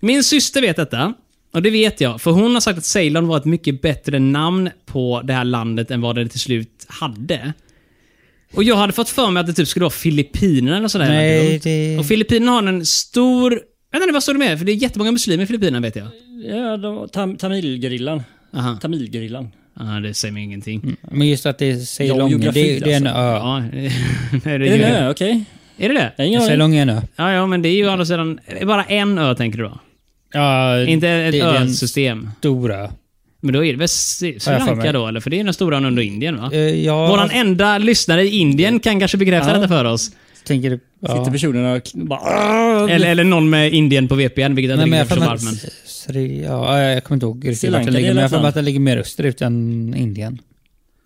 [SPEAKER 1] Min syster vet detta. Och det vet jag, för hon har sagt att Ceylon var ett mycket bättre namn på det här landet än vad det till slut hade. Och jag hade fått för mig att det typ skulle vara Filippinerna eller sådär.
[SPEAKER 4] Nej, det-
[SPEAKER 1] Och Filippinerna har en stor... Vänta nu, vad står det med? För det är jättemånga muslimer i Filippinerna vet jag.
[SPEAKER 2] Ja, de, tam, tamilgrillan.
[SPEAKER 1] Aha.
[SPEAKER 2] Tamilgrillan.
[SPEAKER 1] Ah, det säger mig ingenting.
[SPEAKER 4] Men just att det är
[SPEAKER 2] Ja,
[SPEAKER 4] Ceylong, det,
[SPEAKER 2] geografi, alltså.
[SPEAKER 4] det är en Mm. ö.
[SPEAKER 1] Ja, nej, det är
[SPEAKER 2] Är det
[SPEAKER 1] ju-
[SPEAKER 2] en ö? Okej.
[SPEAKER 1] Är det det?
[SPEAKER 2] Jag har ingen aning.
[SPEAKER 4] Ceylong är en ö.
[SPEAKER 1] Ja, ja, men det är ju å andra sidan... är det Bara en ö tänker du då?
[SPEAKER 4] Ja,
[SPEAKER 1] Inte ett
[SPEAKER 4] det är en
[SPEAKER 1] ö-system.
[SPEAKER 4] stor ö.
[SPEAKER 1] Men då är det väl Sri Sri
[SPEAKER 4] Ja, jag får
[SPEAKER 1] Lanka
[SPEAKER 4] mig.
[SPEAKER 1] då, eller? För det är den stora ön under Indien va?
[SPEAKER 4] Eh, Ja,
[SPEAKER 1] Våran enda lyssnare i Indien kan kanske bekräfta
[SPEAKER 2] Ja.
[SPEAKER 1] detta för oss.
[SPEAKER 4] tänker du... Ja.
[SPEAKER 2] Sitter personerna och bara... "Arr!"
[SPEAKER 1] Eller, eller någon med Indien på VPN, vilket jag
[SPEAKER 4] Nej,
[SPEAKER 1] inte
[SPEAKER 4] men jag
[SPEAKER 1] riktigt
[SPEAKER 4] har
[SPEAKER 1] förstår
[SPEAKER 4] för
[SPEAKER 1] varför.
[SPEAKER 4] mig att- Sri- ja, jag kommer inte ihåg
[SPEAKER 2] Sri
[SPEAKER 4] riktigt vart
[SPEAKER 2] Lanka,
[SPEAKER 4] den ligger,
[SPEAKER 2] det är
[SPEAKER 4] men jag har för
[SPEAKER 2] något
[SPEAKER 4] mig att den ligger mer österut än Indien.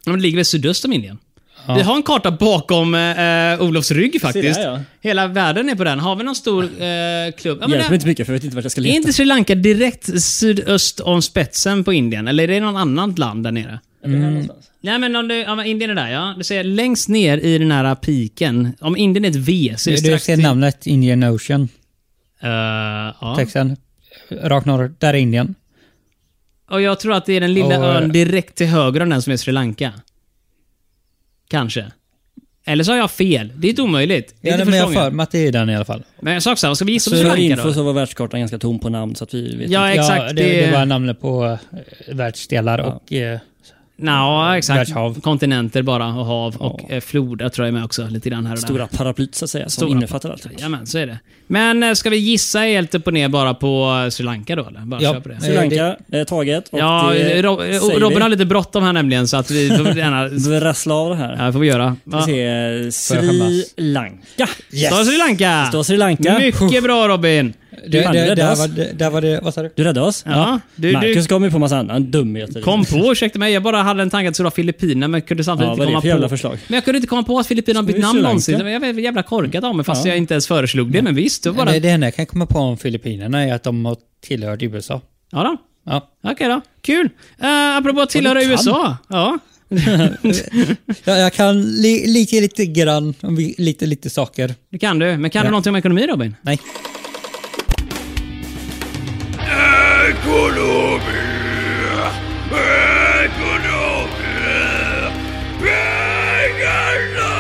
[SPEAKER 1] Men det ligger väl sydöst om Indien?
[SPEAKER 4] Ja.
[SPEAKER 1] Vi har en karta bakom eh, Olofs rygg faktiskt.
[SPEAKER 2] där, ja.
[SPEAKER 1] Hela världen är på den. Har vi någon stor eh, klubb? Ja, men
[SPEAKER 2] Hjälper
[SPEAKER 1] där,
[SPEAKER 2] inte mycket för jag vet inte vart jag ska
[SPEAKER 1] är
[SPEAKER 2] leta.
[SPEAKER 1] inte Sri Lanka direkt sydöst om spetsen på Indien? Eller är det någon annat land där nere? Mm. Nej men om du, ja, men Indien är där ja. Du ser längst ner i den här piken. Om Indien är ett V så är det
[SPEAKER 4] Du
[SPEAKER 1] strax...
[SPEAKER 4] ser namnet Indian Ocean,
[SPEAKER 1] Eh, ja.
[SPEAKER 4] texten. Rakt norr, där är Indien.
[SPEAKER 1] Och jag tror att det är den lilla
[SPEAKER 4] Och, eh,
[SPEAKER 1] ön direkt till höger om den som är Sri Lanka. Kanske. Eller så har jag fel. Det är inte omöjligt. Det är
[SPEAKER 4] Ja,
[SPEAKER 1] inte
[SPEAKER 4] men jag har för
[SPEAKER 1] förstången.
[SPEAKER 4] mig att det är den i alla fall.
[SPEAKER 1] Men jag sa också, vad ska vi gissa på Sri
[SPEAKER 2] Så för
[SPEAKER 1] Lanka
[SPEAKER 2] info
[SPEAKER 1] då?
[SPEAKER 2] så var världskartan ganska tom på namn så att vi vet
[SPEAKER 1] Ja, exakt.
[SPEAKER 4] ja,
[SPEAKER 1] det,
[SPEAKER 4] det, det är bara namnet på eh, världsdelar och... eh,
[SPEAKER 1] Nja, exakt.
[SPEAKER 4] världshav.
[SPEAKER 1] Kontinenter bara och hav och eh, floder tror jag med också. Lite grann här och
[SPEAKER 2] inte.
[SPEAKER 1] där.
[SPEAKER 2] Stora paraplyt så att säga, som
[SPEAKER 1] Stora
[SPEAKER 2] innefattar allt.
[SPEAKER 1] Jajamän, så är det. Men eh, ska vi gissa helt upp och ner bara på eh, Sri Lanka då eller? Bara
[SPEAKER 4] Ja.
[SPEAKER 1] kör på det.
[SPEAKER 2] Sri Lanka, eh, taget. Och
[SPEAKER 1] Ja,
[SPEAKER 2] det,
[SPEAKER 1] Rob- eh,
[SPEAKER 2] säger
[SPEAKER 1] Robin har
[SPEAKER 2] vi.
[SPEAKER 1] lite bråttom här nämligen så att vi får gärna...
[SPEAKER 2] Brassla av det här.
[SPEAKER 1] Ja, det får vi göra. Va?
[SPEAKER 2] Ska vi se, eh, Sri
[SPEAKER 4] skämmas?
[SPEAKER 2] Lanka.
[SPEAKER 1] Står Sri Lanka!
[SPEAKER 2] Står Sri Lanka.
[SPEAKER 1] Mycket bra Robin!
[SPEAKER 4] det,
[SPEAKER 2] fan,
[SPEAKER 4] det,
[SPEAKER 2] rädda
[SPEAKER 4] där,
[SPEAKER 2] oss.
[SPEAKER 4] var, det- där var det... Vad sa du?
[SPEAKER 2] Du räddade oss.
[SPEAKER 1] Ja, du,
[SPEAKER 2] Marcus
[SPEAKER 1] du
[SPEAKER 2] kom ju på massa annan dumheter.
[SPEAKER 1] kom på, ursäkta mig, jag bara hade en tanke att det skulle vara Filippinerna men kunde samtidigt
[SPEAKER 2] Ja,
[SPEAKER 1] inte
[SPEAKER 2] vad är det
[SPEAKER 1] komma
[SPEAKER 2] för jävla
[SPEAKER 1] på.
[SPEAKER 2] förslag?
[SPEAKER 1] Men jag kunde inte komma på att Filippinerna har
[SPEAKER 2] Ska vi
[SPEAKER 1] bytt namn
[SPEAKER 2] Sri Lanka?
[SPEAKER 1] någonsin. Det var jävla- jävla korkat av mig fast
[SPEAKER 2] Ja.
[SPEAKER 1] jag inte ens föreslog det. Men visst, det var bara...
[SPEAKER 4] Det, det enda jag kan komma på om Filippinerna är att de har tillhört USA.
[SPEAKER 1] Ja då.
[SPEAKER 4] Ja.
[SPEAKER 1] Okej då. Kul. Uh, apropå att tillhöra
[SPEAKER 2] du kan.
[SPEAKER 1] USA. Ja.
[SPEAKER 4] Jag, jag kan li, lite, lite grann om vi- lite, lite saker.
[SPEAKER 1] Det kan du. Men kan du
[SPEAKER 4] Ja.
[SPEAKER 1] någonting om ekonomi Robin?
[SPEAKER 4] Nej.
[SPEAKER 6] Ekonomi! Ekonomi! Pengarna!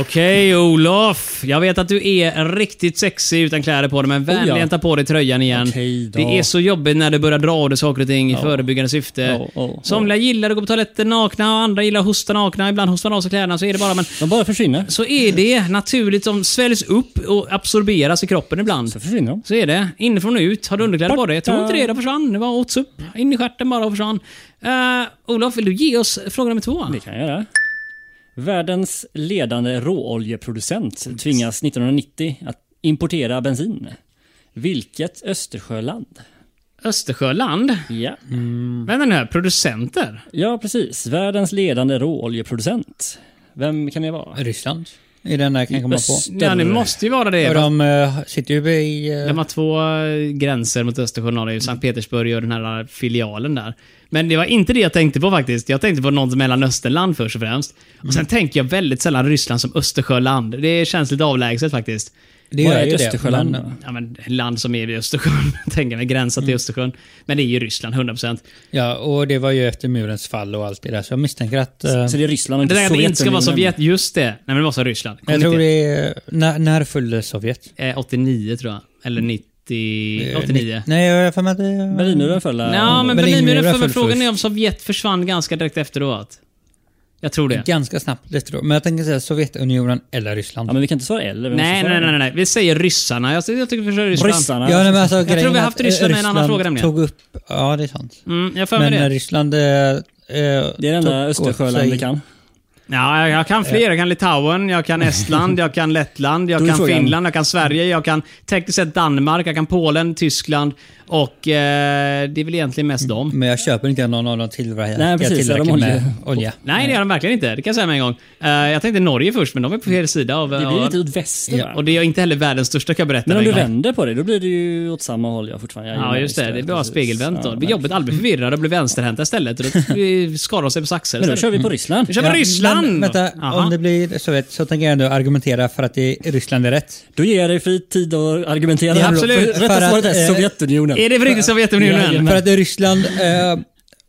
[SPEAKER 1] Okej Olof. Jag vet att du är riktigt sexig utan kläder på dig men
[SPEAKER 2] ja.
[SPEAKER 1] vänligen ta på dig tröjan igen.
[SPEAKER 2] Okej då.
[SPEAKER 1] Det är så jobbigt när du börjar dra av dig saker och ting i förebyggande syfte.
[SPEAKER 2] Ja, ja,
[SPEAKER 1] Somliga gillar att gå på toaletten nakna och andra gillar att hosta nakna. Ibland hostar de av sig kläderna så är det bara. Men
[SPEAKER 2] De bara försvinner.
[SPEAKER 1] så är det naturligt. De sväljs upp och absorberas i kroppen ibland.
[SPEAKER 2] Så försvinner de.
[SPEAKER 1] Så är det. Inifrån och ut. Har du underkläder på dig? Jag tror inte det. Det försvann. Det var åts upp. In i stjärten bara och försvann. Uh, Olof, vill du ge oss fråga nummer två?
[SPEAKER 2] Det kan jag göra. Världens ledande råoljeproducent tvingas 1990 att importera bensin. Vilket Östersjöland?
[SPEAKER 1] Östersjöland?
[SPEAKER 2] Ja,
[SPEAKER 1] Vänta nu här. Producenter?
[SPEAKER 2] ja precis. Världens ledande råoljeproducent. Vem kan det vara?
[SPEAKER 4] Ryssland är det enda jag kan komma på.
[SPEAKER 1] Ja, det måste ju vara det.
[SPEAKER 4] Och de eh, sitter ju i... eh,
[SPEAKER 1] De har två eh, gränser mot Östersjön. och Det är ju Sankt Petersburg och den här eh, filialen där. Men det var inte det jag tänkte på faktiskt. Jag tänkte på något Mellanösternland först och främst. Och sen tänker jag väldigt sällan Ryssland som Östersjöland. Det känns lite avlägset faktiskt.
[SPEAKER 4] det
[SPEAKER 2] Vad
[SPEAKER 4] gör
[SPEAKER 2] är
[SPEAKER 4] ju
[SPEAKER 2] ett
[SPEAKER 4] det.
[SPEAKER 2] Östersjöland?
[SPEAKER 4] men-
[SPEAKER 1] Ja, men land som är vid Östersjön, tänker mig, gränsar till Östersjön. Men det är ju Ryssland, 100%.
[SPEAKER 4] Ja, och Mm. det var ju efter murens fall och allt det där, så jag misstänker att... eh,
[SPEAKER 2] Så det är Ryssland och
[SPEAKER 1] Det
[SPEAKER 2] inte
[SPEAKER 1] där att det inte ska vara
[SPEAKER 2] Sovjetunionen.
[SPEAKER 1] Sovjet, just det. Nej, men det var så Ryssland. Kom
[SPEAKER 4] jag tror
[SPEAKER 1] inte-
[SPEAKER 4] det är... eh, När, när följde Sovjet? Eh,
[SPEAKER 1] Eh, 89 tror jag. Eller
[SPEAKER 4] Mm.
[SPEAKER 1] 90... 89.
[SPEAKER 4] Nej, jag har för mig att det...
[SPEAKER 2] Berlinmuren föll där.
[SPEAKER 1] Ja, men
[SPEAKER 4] Berlinmuren
[SPEAKER 1] Berlinmuren, för
[SPEAKER 4] föll
[SPEAKER 1] frågan är
[SPEAKER 4] först.
[SPEAKER 1] om Sovjet försvann ganska direkt efteråt. Jag tror det.
[SPEAKER 4] Ganska snabbt lite då. Men jag tänker säga Sovjetunionen eller Ryssland.
[SPEAKER 2] Ja, men vi kan inte svara eller. Vi måste
[SPEAKER 1] Nej,
[SPEAKER 2] svara
[SPEAKER 1] nej, nej,
[SPEAKER 2] eller.
[SPEAKER 1] nej. Vi säger ryssarna. Jag, jag tycker vi kör Ryssland.
[SPEAKER 2] Ryssarna.
[SPEAKER 4] Ja, nej, men alltså,
[SPEAKER 1] Jag tror
[SPEAKER 4] grejen
[SPEAKER 1] vi har
[SPEAKER 4] är
[SPEAKER 1] haft
[SPEAKER 4] att, eh,
[SPEAKER 1] Ryssland med en annan
[SPEAKER 4] Ryssland
[SPEAKER 1] fråga nämligen.
[SPEAKER 4] tog upp... Ja, det är sant.
[SPEAKER 1] Mm, jag för mig
[SPEAKER 4] Men när
[SPEAKER 1] det.
[SPEAKER 4] Ryssland... eh, eh,
[SPEAKER 2] Det är det
[SPEAKER 4] tog
[SPEAKER 2] enda
[SPEAKER 4] åt
[SPEAKER 2] Östersjöland vi
[SPEAKER 4] sig-
[SPEAKER 2] kan.
[SPEAKER 1] Ja, jag- jag kan fler. Jag kan Litauen, jag kan Estland, jag kan Lettland,
[SPEAKER 2] Då
[SPEAKER 1] jag
[SPEAKER 2] är
[SPEAKER 1] kan
[SPEAKER 2] frågan-
[SPEAKER 1] Finland, jag kan Sverige, jag kan tekniskt sett Danmark, jag kan Polen, Tyskland och eh, det är väl egentligen mest dem.
[SPEAKER 4] Men jag köper inte att någon av dem tillverkar
[SPEAKER 2] Nej, precis,
[SPEAKER 4] tillräckligt
[SPEAKER 2] är de
[SPEAKER 4] med
[SPEAKER 2] olja?
[SPEAKER 4] olja.
[SPEAKER 1] Nej, det gör de verkligen inte. Det kan jag säga med en gång. Eh, jag tänkte Norge först, men de är på fel sida av...
[SPEAKER 2] Det
[SPEAKER 1] av-
[SPEAKER 2] blir lite åt väster
[SPEAKER 1] Ja,
[SPEAKER 2] va?
[SPEAKER 1] och det är inte heller världens största kan jag berätta.
[SPEAKER 2] Men om
[SPEAKER 1] med
[SPEAKER 2] du
[SPEAKER 1] en gång.
[SPEAKER 2] vänder på det, då blir det ju åt samma håll. Ja, fortfarande. Jag
[SPEAKER 1] Ja,
[SPEAKER 2] gillar
[SPEAKER 1] just det. Det är bra
[SPEAKER 2] precis.
[SPEAKER 1] spegelvänt då.
[SPEAKER 2] Ja,
[SPEAKER 1] Det blir jobbigt. Alla blir förvirrade och blir vänsterhänta istället. Och då vi skadar sig på saxar
[SPEAKER 2] Men då kör
[SPEAKER 1] istället.
[SPEAKER 2] vi på Ryssland.
[SPEAKER 1] Nu kör vi Ryssland!
[SPEAKER 4] Men, vänta,
[SPEAKER 1] Aha.
[SPEAKER 4] om det blir Sovjet så tänker jag ändå argumentera för att det, Ryssland är rätt.
[SPEAKER 2] Då ger jag dig fri tid att argumentera.
[SPEAKER 1] Ja, absolut.
[SPEAKER 2] För
[SPEAKER 4] För
[SPEAKER 2] Rätta
[SPEAKER 4] att,
[SPEAKER 2] svaret är
[SPEAKER 4] eh,
[SPEAKER 2] Sovjetunionen.
[SPEAKER 1] Är det för riktigt Sovjetunionen?
[SPEAKER 4] För att Ryssland eh,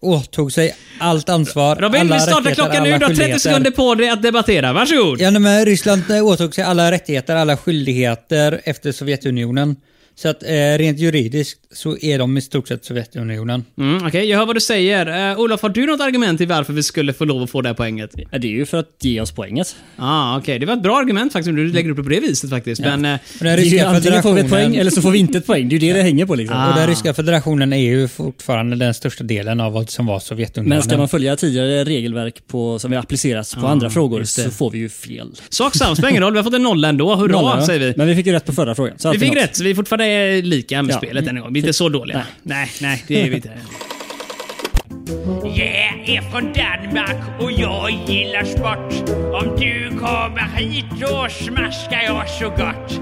[SPEAKER 4] åtog sig allt ansvar.
[SPEAKER 1] Robin,
[SPEAKER 4] alla
[SPEAKER 1] vi startar
[SPEAKER 4] rättigheter,
[SPEAKER 1] klockan nu.
[SPEAKER 4] alla
[SPEAKER 1] Du har 30
[SPEAKER 4] skyldigheter.
[SPEAKER 1] sekunder på dig att debattera. Varsågod!
[SPEAKER 4] Ja, nej, men Ryssland eh, åtog sig alla rättigheter, alla skyldigheter efter Sovjetunionen. Så att eh, rent juridiskt så är de i stort sett Sovjetunionen.
[SPEAKER 1] Mm, Okej, jag hör vad du säger. Uh, Olof, har du något argument till varför vi skulle få lov att få det här poänget? Ja,
[SPEAKER 2] Ja, det är ju för att ge oss poänget.
[SPEAKER 1] ah, okej. Det var ett bra argument faktiskt, om du lägger upp det på det viset faktiskt. Men... eh,
[SPEAKER 4] Och den
[SPEAKER 2] Det är ju
[SPEAKER 4] ryska
[SPEAKER 2] antingen får vi ett poäng
[SPEAKER 4] federationen,
[SPEAKER 2] eller så får vi inte ett poäng. Det är ju det det hänger på liksom.
[SPEAKER 1] Ah.
[SPEAKER 4] och den ryska federationen är ju fortfarande den största delen av vad som var Sovjetunionen.
[SPEAKER 2] Men ska man följa tidigare regelverk på, som vi har applicerats på andra frågor
[SPEAKER 1] Ah, just det.
[SPEAKER 2] så får vi ju fel.
[SPEAKER 1] Sak samma, spelar ingen roll. Vi har fått en nolla ändå. Hurra,
[SPEAKER 2] Nolla, ja.
[SPEAKER 1] säger vi.
[SPEAKER 2] Men vi fick ju rätt på förra frågan. så
[SPEAKER 1] Vi
[SPEAKER 2] alltid
[SPEAKER 1] fick
[SPEAKER 2] något.
[SPEAKER 1] rätt, så vi är fortfarande lika med
[SPEAKER 2] Ja.
[SPEAKER 1] spelet än en gång. Vi är inte så dåliga. Nej, nej, det är vi inte.
[SPEAKER 7] Jag är från Danmark och jag gillar sport. Om du kommer hit då smaskar jag så gott.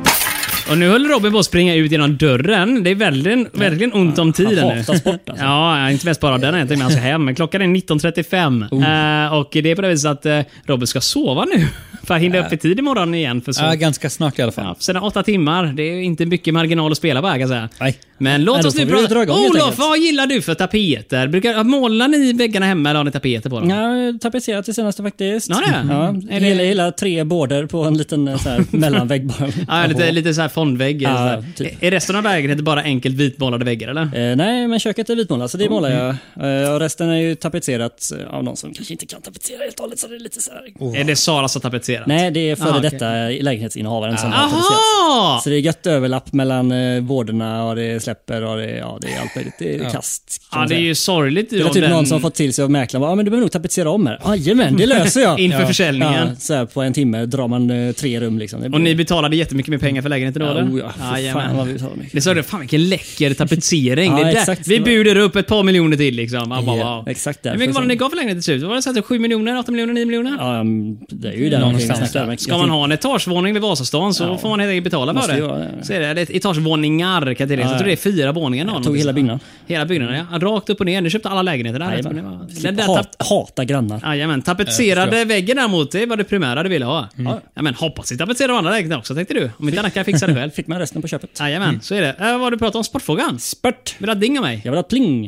[SPEAKER 1] Och nu höll Robin på att springa ut genom dörren. Det är verkligen, verkligen ont om tiden
[SPEAKER 2] Han
[SPEAKER 1] nu.
[SPEAKER 2] hatar sport, alltså.
[SPEAKER 1] Ja, inte mest bara av den. Jag tänkte han ska hem. Men klockan är 19.35.
[SPEAKER 2] Oh.
[SPEAKER 1] Eh, och det är på det viset att eh, Robin ska sova nu. För att hinna upp i tid imorgon igen. För så.
[SPEAKER 4] Ja, ganska snart i alla fall.
[SPEAKER 1] Ja, sen åtta timmar. Det är inte mycket marginal att spela på här kan jag säga.
[SPEAKER 4] Nej.
[SPEAKER 1] Men låt
[SPEAKER 2] Nej, då
[SPEAKER 1] oss nu
[SPEAKER 2] får vi dra
[SPEAKER 1] prata.
[SPEAKER 2] igång helt
[SPEAKER 1] Olof,
[SPEAKER 2] enkelt.
[SPEAKER 1] vad gillar du för tapeter? Brukar, målar ni väggarna hemma eller har ni tapeter på dem?
[SPEAKER 2] Ja, tapetserat det senaste faktiskt.
[SPEAKER 1] Ja, det.
[SPEAKER 2] Ja, hela, hela tre border på en liten eh, så här, mellanvägg bara.
[SPEAKER 1] Ja, lite, lite så här fondvägg.
[SPEAKER 2] Ja,
[SPEAKER 1] så här.
[SPEAKER 2] typ.
[SPEAKER 1] Är resten av lägenheten bara enkelt vitmålade väggar eller?
[SPEAKER 2] Eh, nej, men köket är vitmålat så det målar jag. Eh, och resten är ju tapetserat eh, av någon som kanske inte kan tapetsera helt och hållet så det är lite så här.
[SPEAKER 1] Är det Sara som tapetserat?
[SPEAKER 2] Nej, det är före
[SPEAKER 1] Oh. Ah, okej.
[SPEAKER 2] detta lägenhetsinnehavaren som har tapetserat.
[SPEAKER 1] Aha!
[SPEAKER 2] Så det är gött överlapp mellan eh, vårderna och det släpper och det, ja, det är allt möjligt. Det är kast. kan
[SPEAKER 1] Ja,
[SPEAKER 2] man
[SPEAKER 1] det är
[SPEAKER 2] säga.
[SPEAKER 1] ju sorgligt.
[SPEAKER 2] det är typ någon som fått till sig av mäklaren bara, ah, men du behöver nog tapetsera om här. Jajamän, det löser jag.
[SPEAKER 1] Inför
[SPEAKER 2] ja.
[SPEAKER 1] försäljningen.
[SPEAKER 2] Ja, så här, på en timme drar man eh, tre rum liksom. Det
[SPEAKER 1] Och
[SPEAKER 2] blir-
[SPEAKER 1] ni betalade jättemycket mer pengar för lägenheten då
[SPEAKER 2] Ja,
[SPEAKER 1] eller?
[SPEAKER 2] oh ja, för fan
[SPEAKER 1] Jajamän.
[SPEAKER 2] vad vi betalar mycket.
[SPEAKER 1] Det sa du, fan vilken läcker tapetsering.
[SPEAKER 2] Ja,
[SPEAKER 1] det är där.
[SPEAKER 2] exakt.
[SPEAKER 1] Vi buder upp ett par miljoner till liksom. Man bara,
[SPEAKER 2] Ja,
[SPEAKER 1] wow.
[SPEAKER 2] exakt
[SPEAKER 1] Hur
[SPEAKER 2] därför
[SPEAKER 1] mycket var det
[SPEAKER 2] som-
[SPEAKER 1] ni gav för lägenheten till slut? Var det så att det var 7 miljoner, 8 miljoner, 9 miljoner?
[SPEAKER 2] Ja, mm, det är ju där
[SPEAKER 4] Någonstans
[SPEAKER 2] omkring vi snackar.
[SPEAKER 4] där.
[SPEAKER 2] Men
[SPEAKER 1] Ska
[SPEAKER 2] jag
[SPEAKER 1] man
[SPEAKER 2] tänk-
[SPEAKER 1] ha en etagevåning vid Vasastan så
[SPEAKER 2] Ja.
[SPEAKER 1] får man helt enkelt betala för
[SPEAKER 2] Måste
[SPEAKER 1] det.
[SPEAKER 2] ju vara det.
[SPEAKER 1] Så är det. Eller Etagevåningar kan jag tillägga.
[SPEAKER 2] Ja,
[SPEAKER 1] Jag tror det är fyra våningar. någon.
[SPEAKER 2] Jag tog hela byggnaden. Mm.
[SPEAKER 1] Hela byggnaden, ja. Rakt upp och ner. Ni köpte alla lägenheter där.
[SPEAKER 2] Jajamän.
[SPEAKER 1] Den
[SPEAKER 2] Slipper
[SPEAKER 1] där tap-
[SPEAKER 2] hat, hata grannar.
[SPEAKER 1] Jajamän,
[SPEAKER 2] Eh,
[SPEAKER 1] tapetserade väggen däremot, det var det primära du ville ha.
[SPEAKER 2] Ja.
[SPEAKER 1] Ja, men hoppas ni tapetserar de andra lägenheterna också tänkte du. Om inte annat kan jag fixa det själv.
[SPEAKER 2] Fick man resten på köpet.
[SPEAKER 1] Jajamän, så är det. Äh, vad har du pratat om? Sportfrågan?
[SPEAKER 2] Spört!
[SPEAKER 1] Vill du ha ding av mig?
[SPEAKER 2] Jag vill ha ett pling!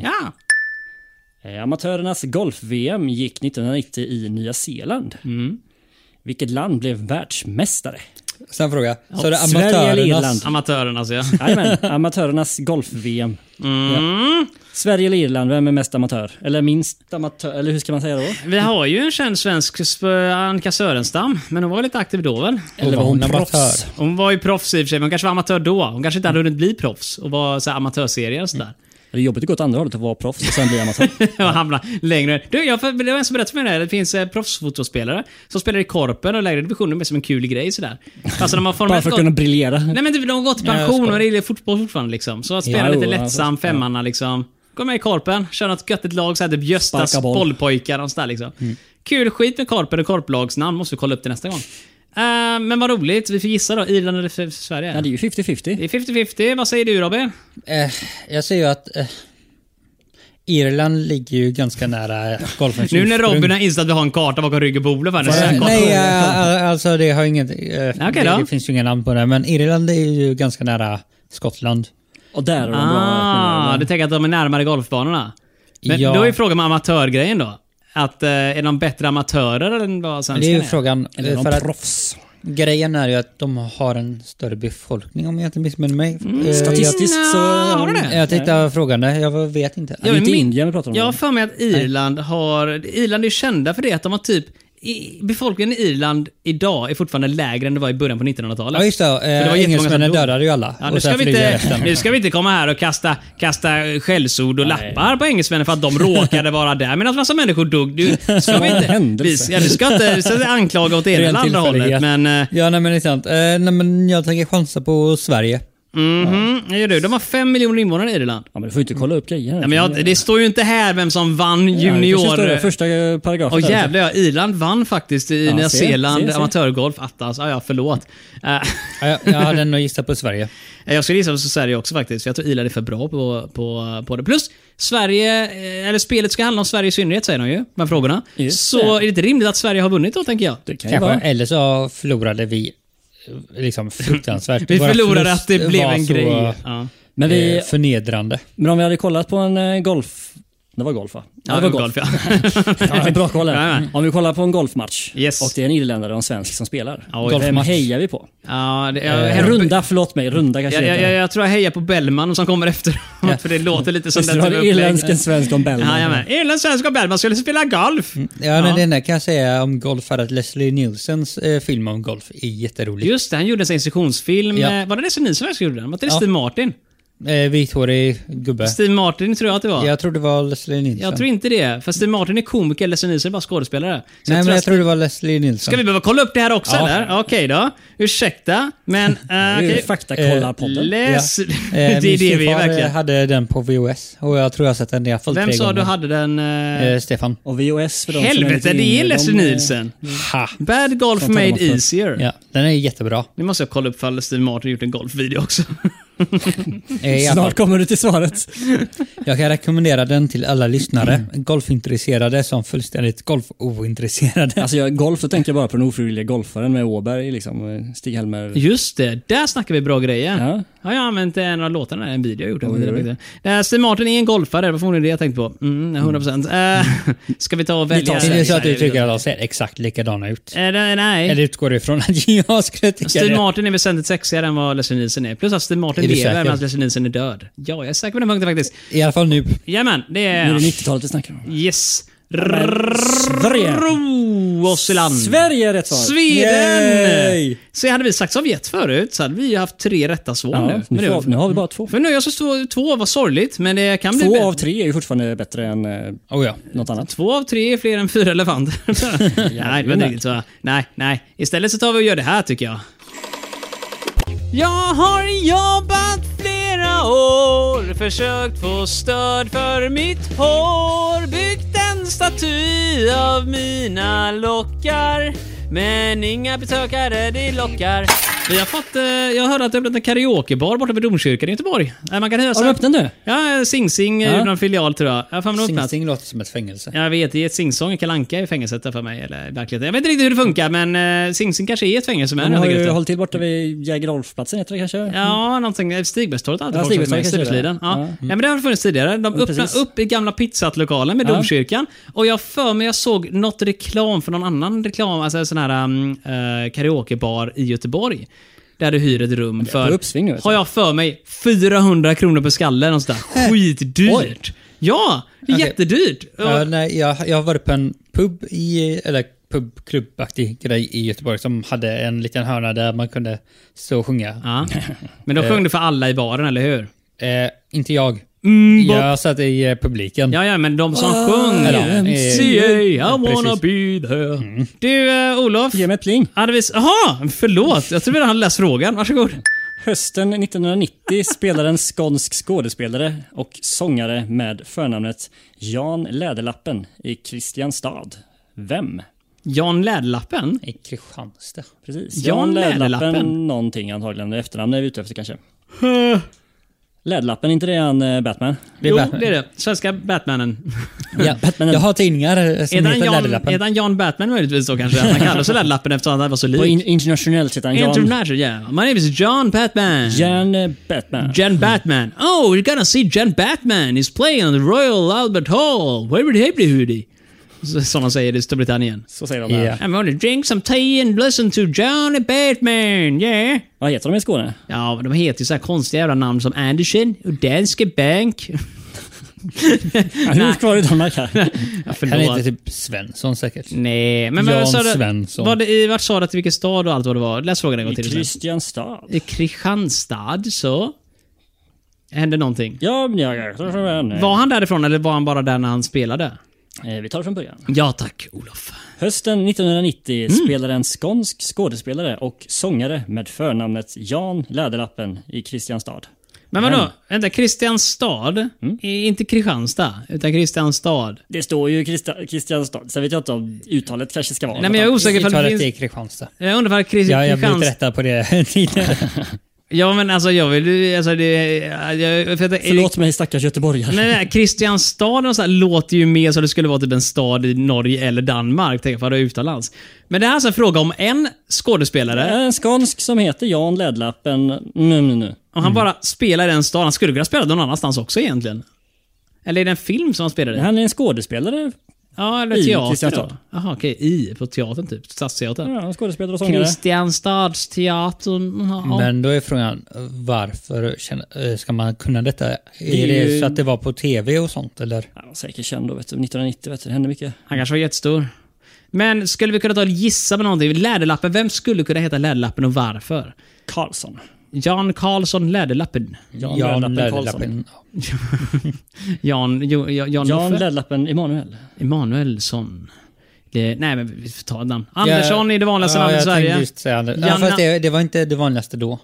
[SPEAKER 1] Ja.
[SPEAKER 2] Eh, Amatörernas golf-VM gick 1990 i Nya Zeeland.
[SPEAKER 1] Mm.
[SPEAKER 2] Vilket land blev världsmästare?
[SPEAKER 4] Sen fråga. Så är det
[SPEAKER 2] Sverige eller Irland?
[SPEAKER 4] amatörernas...
[SPEAKER 1] Amatören alltså ja.
[SPEAKER 2] Jajamän, amatörernas golf-VM.
[SPEAKER 1] Mm.
[SPEAKER 2] Ja. Sverige eller Irland, vem är mest amatör? Eller minst amatör? Eller hur ska man säga då?
[SPEAKER 1] Vi har ju en känd svensk, sp- Annika Sörenstam, men hon var väl lite aktiv då väl?
[SPEAKER 2] Eller
[SPEAKER 4] var hon amatör?
[SPEAKER 1] Hon var ju proffs i och för sig, men hon kanske var amatör då. Hon kanske inte hade hunnit bli proffs och var så här amatörserier och sådär.
[SPEAKER 2] Det är jobbigt att gå åt andra hållet och vara proffs och sen bli amatör.
[SPEAKER 1] och hamna längre ner. Du, jag, det var en som berättade för mig det här. Det finns eh, proffsfotbollsspelare som spelar i korpen och lägre divisioner med som en kul grej sådär. Alltså när man
[SPEAKER 2] Bara
[SPEAKER 1] formellt
[SPEAKER 2] för att
[SPEAKER 1] gått...
[SPEAKER 2] kunna briljera.
[SPEAKER 1] Nej men typ, de har gått i pension och det är fotboll fortfarande liksom. Så att spela
[SPEAKER 2] Ja,
[SPEAKER 1] lite
[SPEAKER 2] jo, ja,
[SPEAKER 1] lättsam femmanna liksom. Gå med i korpen, kör något göttigt lag såhär typ Göstas
[SPEAKER 2] Sparka boll. Mm.
[SPEAKER 1] bollpojkar och sådär liksom. Kul skit med korpen och korplagsnamn. Måste vi kolla upp det nästa gång. Eh, men vad roligt. Vi får gissa då. Irland eller F- Sverige?
[SPEAKER 2] Ja, det är ju 50-50.
[SPEAKER 1] det är 50-50. Vad säger du Robin?
[SPEAKER 4] Eh, jag säger ju att eh, Irland ligger ju ganska nära golfens
[SPEAKER 1] Nu när
[SPEAKER 4] ursprung.
[SPEAKER 1] Robin har insett att vi har en karta bakom ryggen på Olof här. det är så här
[SPEAKER 4] Nej,
[SPEAKER 1] kort.
[SPEAKER 4] nej, eh, alltså det har inget... eh,
[SPEAKER 1] Okej då.
[SPEAKER 4] det, det finns ju inga namn på det, men Irland är ju ganska nära Skottland.
[SPEAKER 2] Och där har de
[SPEAKER 1] Ah,
[SPEAKER 2] bra
[SPEAKER 1] du tänker att de är närmare golfbanorna? Men
[SPEAKER 4] Ja.
[SPEAKER 1] då är frågan med amatörgrejen då. Att eh, är de bättre amatörer än vad
[SPEAKER 4] Det är
[SPEAKER 1] svenskarna
[SPEAKER 4] ju
[SPEAKER 1] är?
[SPEAKER 4] frågan.
[SPEAKER 2] Eller
[SPEAKER 4] eh,
[SPEAKER 2] de
[SPEAKER 4] För att
[SPEAKER 2] proffs.
[SPEAKER 4] grejen är ju att de har en större befolkning om jag inte missminner mig. Eh,
[SPEAKER 2] Statistiskt så...
[SPEAKER 1] Nja, Mm, har de det?
[SPEAKER 4] Jag, jag tänkte jag frågan det, jag vet inte.
[SPEAKER 2] Det är
[SPEAKER 1] Jag
[SPEAKER 2] inte
[SPEAKER 1] min-
[SPEAKER 2] Indien vi pratar om.
[SPEAKER 1] Jag har för mig att Irland har... Irland är ju kända för det att de har typ... I, befolkningen i Irland idag är fortfarande lägre än det var i början på 1900-talet.
[SPEAKER 4] Ja just det,
[SPEAKER 1] det var
[SPEAKER 4] eh,
[SPEAKER 1] jättemånga som
[SPEAKER 4] engelsmännen
[SPEAKER 1] dog.
[SPEAKER 4] dödade ju alla.
[SPEAKER 1] Ja,
[SPEAKER 4] och
[SPEAKER 1] nu,
[SPEAKER 4] sen
[SPEAKER 1] ska vi
[SPEAKER 4] flydde
[SPEAKER 1] inte,
[SPEAKER 4] resten.
[SPEAKER 1] nu ska vi inte komma här och kasta, kasta skällsord och lappar på engelsmännen för att de råkade vara där medan massa människor dog. Du, ska vi
[SPEAKER 2] en
[SPEAKER 1] inte, vi,
[SPEAKER 2] händelse.
[SPEAKER 1] ja, du ska inte så att jag anklaga åt det ena
[SPEAKER 2] Ren
[SPEAKER 1] eller andra hållet,
[SPEAKER 2] tillfällighet.
[SPEAKER 1] men... eh,
[SPEAKER 4] Ja nej men det är sant. Eh, nej, men jag tänker chansa på Sverige.
[SPEAKER 1] mhm, det gör du. De har fem miljoner invånare i Irland.
[SPEAKER 2] Ja, men du får ju inte kolla upp grejer. här.
[SPEAKER 1] Ja, men jag, det står ju inte här vem som vann
[SPEAKER 2] Ja, det kanske
[SPEAKER 1] junior...
[SPEAKER 2] står det, Första eh, paragrafen.
[SPEAKER 1] Åh
[SPEAKER 2] där.
[SPEAKER 1] jävlar ja, Irland vann faktiskt i
[SPEAKER 2] Ja,
[SPEAKER 1] Nya
[SPEAKER 2] se,
[SPEAKER 1] Zeeland
[SPEAKER 2] se, se.
[SPEAKER 1] amatörgolf. Attans, ja, ja förlåt. Eh,
[SPEAKER 4] Ja, jag, jag hade nog gissat på Sverige.
[SPEAKER 1] jag skulle gissa på Sverige också faktiskt, för jag tror Irland är för bra på, på, på det. Plus, Sverige, eh, eller spelet ska handla om Sverige i synnerhet säger de ju, de här frågorna.
[SPEAKER 2] Just
[SPEAKER 1] Så
[SPEAKER 2] det.
[SPEAKER 1] är det inte rimligt att Sverige har vunnit då, tänker jag.
[SPEAKER 2] Det kan ju
[SPEAKER 4] Kanske.
[SPEAKER 2] vara.
[SPEAKER 4] Eller så förlorade vi eh, liksom fruktansvärt.
[SPEAKER 1] Vi
[SPEAKER 4] Våra
[SPEAKER 1] förlorade
[SPEAKER 4] förlust
[SPEAKER 1] att det blev
[SPEAKER 4] var
[SPEAKER 1] en
[SPEAKER 4] så,
[SPEAKER 1] grej.
[SPEAKER 4] eh,
[SPEAKER 1] Ja.
[SPEAKER 2] Men,
[SPEAKER 1] Eh,
[SPEAKER 2] vi,
[SPEAKER 4] Förnedrande.
[SPEAKER 2] men om vi hade kollat på en eh, golf... Det var golf va?
[SPEAKER 1] Ja, det var golf, ja.
[SPEAKER 2] Ja, bra koll
[SPEAKER 1] Ja, ja.
[SPEAKER 2] här. Om vi kollar på en golfmatch
[SPEAKER 1] Yes.
[SPEAKER 2] och det är en irländare och en svensk som spelar.
[SPEAKER 1] Ja, oj.
[SPEAKER 2] Vem
[SPEAKER 1] Golfmatch.
[SPEAKER 2] hejar vi på?
[SPEAKER 1] ja, det, jag,
[SPEAKER 2] Eh, runda, förlåt mig. Runda kanske
[SPEAKER 1] jag,
[SPEAKER 2] det
[SPEAKER 1] jag,
[SPEAKER 2] heter.
[SPEAKER 1] jag, jag tror jag hejar på Bellman som kommer efter för det låter lite som
[SPEAKER 2] Visst, du
[SPEAKER 1] den
[SPEAKER 2] har
[SPEAKER 1] typen av
[SPEAKER 2] det
[SPEAKER 1] upplägg.
[SPEAKER 2] irländsk, en svensk och en belgare.
[SPEAKER 1] Ja, jajamän. Irland, svensk och Bellman skulle spela
[SPEAKER 2] Mm.
[SPEAKER 1] golf.
[SPEAKER 4] Ja, men det enda kan jag säga om golf är att Leslie Nielsens eh, film om golf är jätterolig.
[SPEAKER 1] Just det, han gjorde en sån här instruktionsfilm.
[SPEAKER 4] Ja.
[SPEAKER 1] Eh, Var det det som ni som gjorde den? Var inte det
[SPEAKER 4] Ja.
[SPEAKER 1] Steve Martin?
[SPEAKER 4] Eh, Vithårig gubbe.
[SPEAKER 1] Steve Martin tror jag att det var. Jag,
[SPEAKER 4] Jag tror det var Leslie Nielsen.
[SPEAKER 1] tror inte det. För Steve Martin är komiker, eller så är bara skådespelare. Så
[SPEAKER 4] Nej, men jag
[SPEAKER 1] att-
[SPEAKER 4] tror det var Leslie Nielsen.
[SPEAKER 1] Ska vi behöva kolla upp det här också
[SPEAKER 4] Ja.
[SPEAKER 1] eller? Okej då. Ursäkta, men... Uh,
[SPEAKER 2] Det är
[SPEAKER 1] okay.
[SPEAKER 2] ju Faktakollarpodden.
[SPEAKER 1] Läs...
[SPEAKER 4] Eh,
[SPEAKER 1] det är
[SPEAKER 4] min
[SPEAKER 1] det vi är
[SPEAKER 4] styvfar, eh,
[SPEAKER 1] verkligen.
[SPEAKER 4] hade den på VOS och jag tror jag har sett den i alla fall
[SPEAKER 1] Vem
[SPEAKER 4] tre
[SPEAKER 1] sa
[SPEAKER 4] gånger.
[SPEAKER 1] du hade den... eh,
[SPEAKER 4] Eh, Stefan.
[SPEAKER 2] Och VOS för de som
[SPEAKER 1] helvete,
[SPEAKER 2] lite
[SPEAKER 1] det är
[SPEAKER 2] yngre,
[SPEAKER 1] Leslie
[SPEAKER 2] de, eh,
[SPEAKER 1] Nielsen.
[SPEAKER 4] Ha!
[SPEAKER 1] Bad Golf
[SPEAKER 4] Sånt hade man
[SPEAKER 1] Made
[SPEAKER 4] förr.
[SPEAKER 1] Easier.
[SPEAKER 4] Ja, den är jättebra.
[SPEAKER 1] Nu måste jag kolla upp ifall Steve Martin gjort en golfvideo också.
[SPEAKER 4] Eh, i alla fall,
[SPEAKER 2] Snart kommer du till svaret.
[SPEAKER 4] jag kan rekommendera den till alla lyssnare. Golfintresserade som fullständigt golfointresserade.
[SPEAKER 2] Alltså jag, golf, då tänker jag bara på den ofrivilliga golfaren med Åberg, liksom. eh, Stig-Helmer.
[SPEAKER 1] Just det, där snackar vi bra grejer.
[SPEAKER 2] Ja.
[SPEAKER 1] Ja, jag har använt eh, en av låtarna, en video jag gjort. Mm. Uh, Steve Martin är en golfare, det var förmodligen det jag tänkte på. Mm, 100%. Uh, ska vi ta och välja?
[SPEAKER 2] tar
[SPEAKER 4] Är det så att
[SPEAKER 1] Nej,
[SPEAKER 4] du
[SPEAKER 1] vi
[SPEAKER 4] tycker
[SPEAKER 1] tar-
[SPEAKER 4] att de ser exakt likadana ut?
[SPEAKER 1] Eh, det- Nej.
[SPEAKER 4] Eller utgår du ifrån att jag skulle tycka
[SPEAKER 1] Steve
[SPEAKER 4] det?
[SPEAKER 1] Martin är väsentligt sexigare än vad Leslie Nielsen är. Plus att Steve Martin
[SPEAKER 4] Är du
[SPEAKER 1] lever
[SPEAKER 4] säker?
[SPEAKER 1] medan Leslie Nielsen är död. Ja, jag är säker på den punkten faktiskt.
[SPEAKER 4] I alla fall nu.
[SPEAKER 1] Jajamän, det
[SPEAKER 2] Nu är det
[SPEAKER 1] är...
[SPEAKER 2] 90-talet vi snackar om.
[SPEAKER 1] Yes.
[SPEAKER 2] Sverige.
[SPEAKER 1] Ro oss i land.
[SPEAKER 2] Sverige är rätt svar.
[SPEAKER 1] Sweden!
[SPEAKER 2] Yay!
[SPEAKER 1] Så hade vi sagt Sovjet förut så hade vi ju haft tre rätta svar
[SPEAKER 2] Ja,
[SPEAKER 1] nu.
[SPEAKER 2] nu,
[SPEAKER 1] Men det var-
[SPEAKER 2] får, nu har vi bara två.
[SPEAKER 1] För nu är jag så stor, två var sorgligt, men det kan bli
[SPEAKER 2] Två
[SPEAKER 1] bättre.
[SPEAKER 2] av tre är ju fortfarande bättre än eh,
[SPEAKER 4] Oh, ja.
[SPEAKER 2] något annat.
[SPEAKER 1] Två av tre är fler än fyra elefanter. nej, det var inte riktigt så. Nej, nej. Istället så tar vi och gör det här tycker jag. Jag har jobbat flera år, försökt få stöd för mitt hår, byggt en staty av mina lockar. Men inga besökare det lockar. Vi har fått, eh, jag hörde att det har öppnat en karaokebar borta vid Domkyrkan i Göteborg. Eh, Man kan hyra
[SPEAKER 2] Har du öppnat nu?
[SPEAKER 1] Ja, Sing Sing
[SPEAKER 2] Ja.
[SPEAKER 1] ja. någon filial tror jag. Jag har för mig
[SPEAKER 4] Sing
[SPEAKER 1] öppnat.
[SPEAKER 4] Sing låter som ett fängelse.
[SPEAKER 1] Jag vet, det är ett Singsång i Kalle Anka i fängelset där för mig. Eller i verkligheten. Jag vet inte riktigt hur det funkar, men eh, Sing Sing kanske är ett fängelse med
[SPEAKER 2] Han
[SPEAKER 1] den
[SPEAKER 2] har
[SPEAKER 1] här
[SPEAKER 2] ju
[SPEAKER 1] gruppen.
[SPEAKER 2] hållit till borta vid Jäger Rolf-platsen, heter det kanske?
[SPEAKER 1] Ja, någonting. Eh, Stigbergstorget har alltid
[SPEAKER 2] Ja,
[SPEAKER 1] folk som är med i
[SPEAKER 2] Stigbergstorget
[SPEAKER 1] Stigbergsliden.
[SPEAKER 2] kanske det är.
[SPEAKER 1] Ja.
[SPEAKER 2] Ja.
[SPEAKER 1] Ja, men det har funnits tidigare. De öppnade
[SPEAKER 2] precis.
[SPEAKER 1] upp i gamla pizzalokalen med
[SPEAKER 2] Ja.
[SPEAKER 1] domkyrkan. Och jag för mig jag såg något reklam för någon annan reklam, alltså en sån här um, eh, karaokebar i Göteborg. Där du hyr ett rum
[SPEAKER 2] på
[SPEAKER 1] för,
[SPEAKER 2] uppsving nu, alltså.
[SPEAKER 1] har
[SPEAKER 2] vet du.
[SPEAKER 1] jag för mig, 400 kronor per skalle. Något sånt där. Skitdyrt! Ja, det är
[SPEAKER 4] Okej.
[SPEAKER 1] jättedyrt.
[SPEAKER 4] Ja, nej, jag, jag har varit på en pub i, eller pub, klubbaktig grej i Göteborg som hade en liten hörna där man kunde stå och sjunga.
[SPEAKER 1] Ja. Men då sjöng du för alla i baren, eller hur?
[SPEAKER 4] Eh, inte jag. jag satt i eh, publiken.
[SPEAKER 1] Ja, ja, men de som sjöng.
[SPEAKER 4] eller, eh,
[SPEAKER 1] MCA, I
[SPEAKER 4] ja,
[SPEAKER 1] wanna
[SPEAKER 4] precis. Mm.
[SPEAKER 1] be there. Du, eh, Olof.
[SPEAKER 2] Ge mig ett pling.
[SPEAKER 1] Hade vi... Jaha, förlåt. Jag trodde han hade läst frågan. Varsågod.
[SPEAKER 2] Hösten 1990 spelade en skånsk skådespelare och sångare med förnamnet Jan Läderlappen i Kristianstad. Vem?
[SPEAKER 1] Jan Läderlappen?
[SPEAKER 4] I Kristianstad.
[SPEAKER 2] Precis.
[SPEAKER 1] Jan Läderlappen.
[SPEAKER 2] någonting antagligen. Efternamn är vi ute efter kanske. Läderlappen, inte det han eh, Batman?
[SPEAKER 4] Det är
[SPEAKER 1] jo,
[SPEAKER 4] Batman.
[SPEAKER 1] det är det. Svenska Batmanen.
[SPEAKER 4] Ja,
[SPEAKER 2] Batman.
[SPEAKER 4] jag har tidningar eh,
[SPEAKER 1] Är
[SPEAKER 4] som
[SPEAKER 1] han
[SPEAKER 4] heter
[SPEAKER 1] Jan,
[SPEAKER 4] Läderlappen.
[SPEAKER 1] är han Jan Batman möjligtvis då kanske? Att han kallar sig Läderlappen eftersom han var så
[SPEAKER 2] På in,
[SPEAKER 1] lik.
[SPEAKER 2] internationellt heter han Jan.
[SPEAKER 1] International, yeah. My name is John Batman.
[SPEAKER 2] Jan eh, Batman.
[SPEAKER 1] Jen Batman. Oh, you're gonna see Jen Batman. He's playing on the Royal Albert Hall. Where would he be, Hoodie? Så- Som de säger i Storbritannien.
[SPEAKER 2] Så säger de där.
[SPEAKER 4] Ja.
[SPEAKER 1] I'm gonna drink some tea and listen to Johnny Batman, yeah.
[SPEAKER 2] Vad heter de i Skåne?
[SPEAKER 1] Ja, men de heter ju så här konstiga jävla namn som Andersen och Danske Bank.
[SPEAKER 2] Ja, Hur kvar i Danmark här?
[SPEAKER 1] Ja,
[SPEAKER 4] Han heter
[SPEAKER 1] Förlåt.
[SPEAKER 4] typ Svensson säkert.
[SPEAKER 1] Mm. Nej, men
[SPEAKER 4] Jan
[SPEAKER 1] vad sa du?
[SPEAKER 4] Svensson.
[SPEAKER 1] Var det, i- vart sa du att vilken stad och allt vad det var? Läs frågan en gång
[SPEAKER 2] I
[SPEAKER 1] till. sen.
[SPEAKER 2] Kristianstad.
[SPEAKER 1] I Kristianstad, så. Hände någonting.
[SPEAKER 2] Ja, men jag jag tror det var en, eh,
[SPEAKER 1] Var han därifrån eller var han bara där när han spelade?
[SPEAKER 2] eh, Vi tar det från början.
[SPEAKER 1] Ja tack, Olof.
[SPEAKER 2] Hösten 1990
[SPEAKER 1] Mm.
[SPEAKER 2] spelade en skånsk skådespelare och sångare med förnamnet Jan Läderlappen i Kristianstad.
[SPEAKER 1] Men vadå? Vänta, Kristianstad? Är inte Kristianstad, utan Kristianstad.
[SPEAKER 2] Det står ju Krista- Kristianstad, sen vet jag inte om uttalet kanske ska vara
[SPEAKER 1] Nej, men jag är osäker
[SPEAKER 4] Jag
[SPEAKER 1] ifall
[SPEAKER 4] tar
[SPEAKER 1] det
[SPEAKER 4] att det är
[SPEAKER 1] finns...
[SPEAKER 4] Kristianstad.
[SPEAKER 1] Jag undrar ifall Kris-
[SPEAKER 4] Ja, jag blev
[SPEAKER 1] Kristianstad...
[SPEAKER 4] rättad på det tidigare.
[SPEAKER 1] Ja, men alltså jag vill ju... Alltså, det, jag, för att,
[SPEAKER 2] Förlåt mig stackars göteborgare.
[SPEAKER 1] Nej, nej, Kristianstad och sådär låter ju mer som det skulle vara typ en stad i Norge eller Danmark. Tänk ifall det är utomlands. Men det här är alltså en fråga om en skådespelare.
[SPEAKER 2] En skånsk som heter Jan Läderlappen... Nu, nu, nu.
[SPEAKER 1] Om han bara spelar i en stad. Han skulle kunna spela någon annanstans också egentligen. Eller är det en film som han spelade i?
[SPEAKER 2] Han är en skådespelare.
[SPEAKER 1] Ja, eller
[SPEAKER 2] I
[SPEAKER 1] teater
[SPEAKER 2] Kristianstad.
[SPEAKER 1] då. Jaha, okej. I, på teatern typ. Stadsteatern.
[SPEAKER 2] Ja, en skådespelare och sångare.
[SPEAKER 1] Kristianstadsteatern. Ja.
[SPEAKER 4] Men då är frågan, varför känner- eh, ska man kunna detta? Är det,
[SPEAKER 2] ju-
[SPEAKER 4] så att det var på tv och sånt eller?
[SPEAKER 2] Han var säkert känd då, vet du. 1990, vet du. Det hände mycket.
[SPEAKER 1] Han kanske var jättestor. Men skulle vi kunna ta och gissa på någonting? Läderlappen. Vem skulle kunna heta Läderlappen och varför?
[SPEAKER 2] Karlsson.
[SPEAKER 1] Jan Karlsson Läderlappen.
[SPEAKER 2] Jan,
[SPEAKER 4] Jan
[SPEAKER 2] Läderlappen Karlsson.
[SPEAKER 4] Läderlappen.
[SPEAKER 1] Jan... Jo, Jan, Jan,
[SPEAKER 2] Jan
[SPEAKER 1] Loffe?
[SPEAKER 2] Läderlappen Emanuel.
[SPEAKER 1] Emanuelsson. Det, nej, men vi får ta ett namn. Andersson är det vanligaste namnet i
[SPEAKER 4] jag tänkte
[SPEAKER 1] Sverige.
[SPEAKER 4] just säga det. Ja,
[SPEAKER 1] Janna-
[SPEAKER 4] fast det, det var inte det vanligaste då.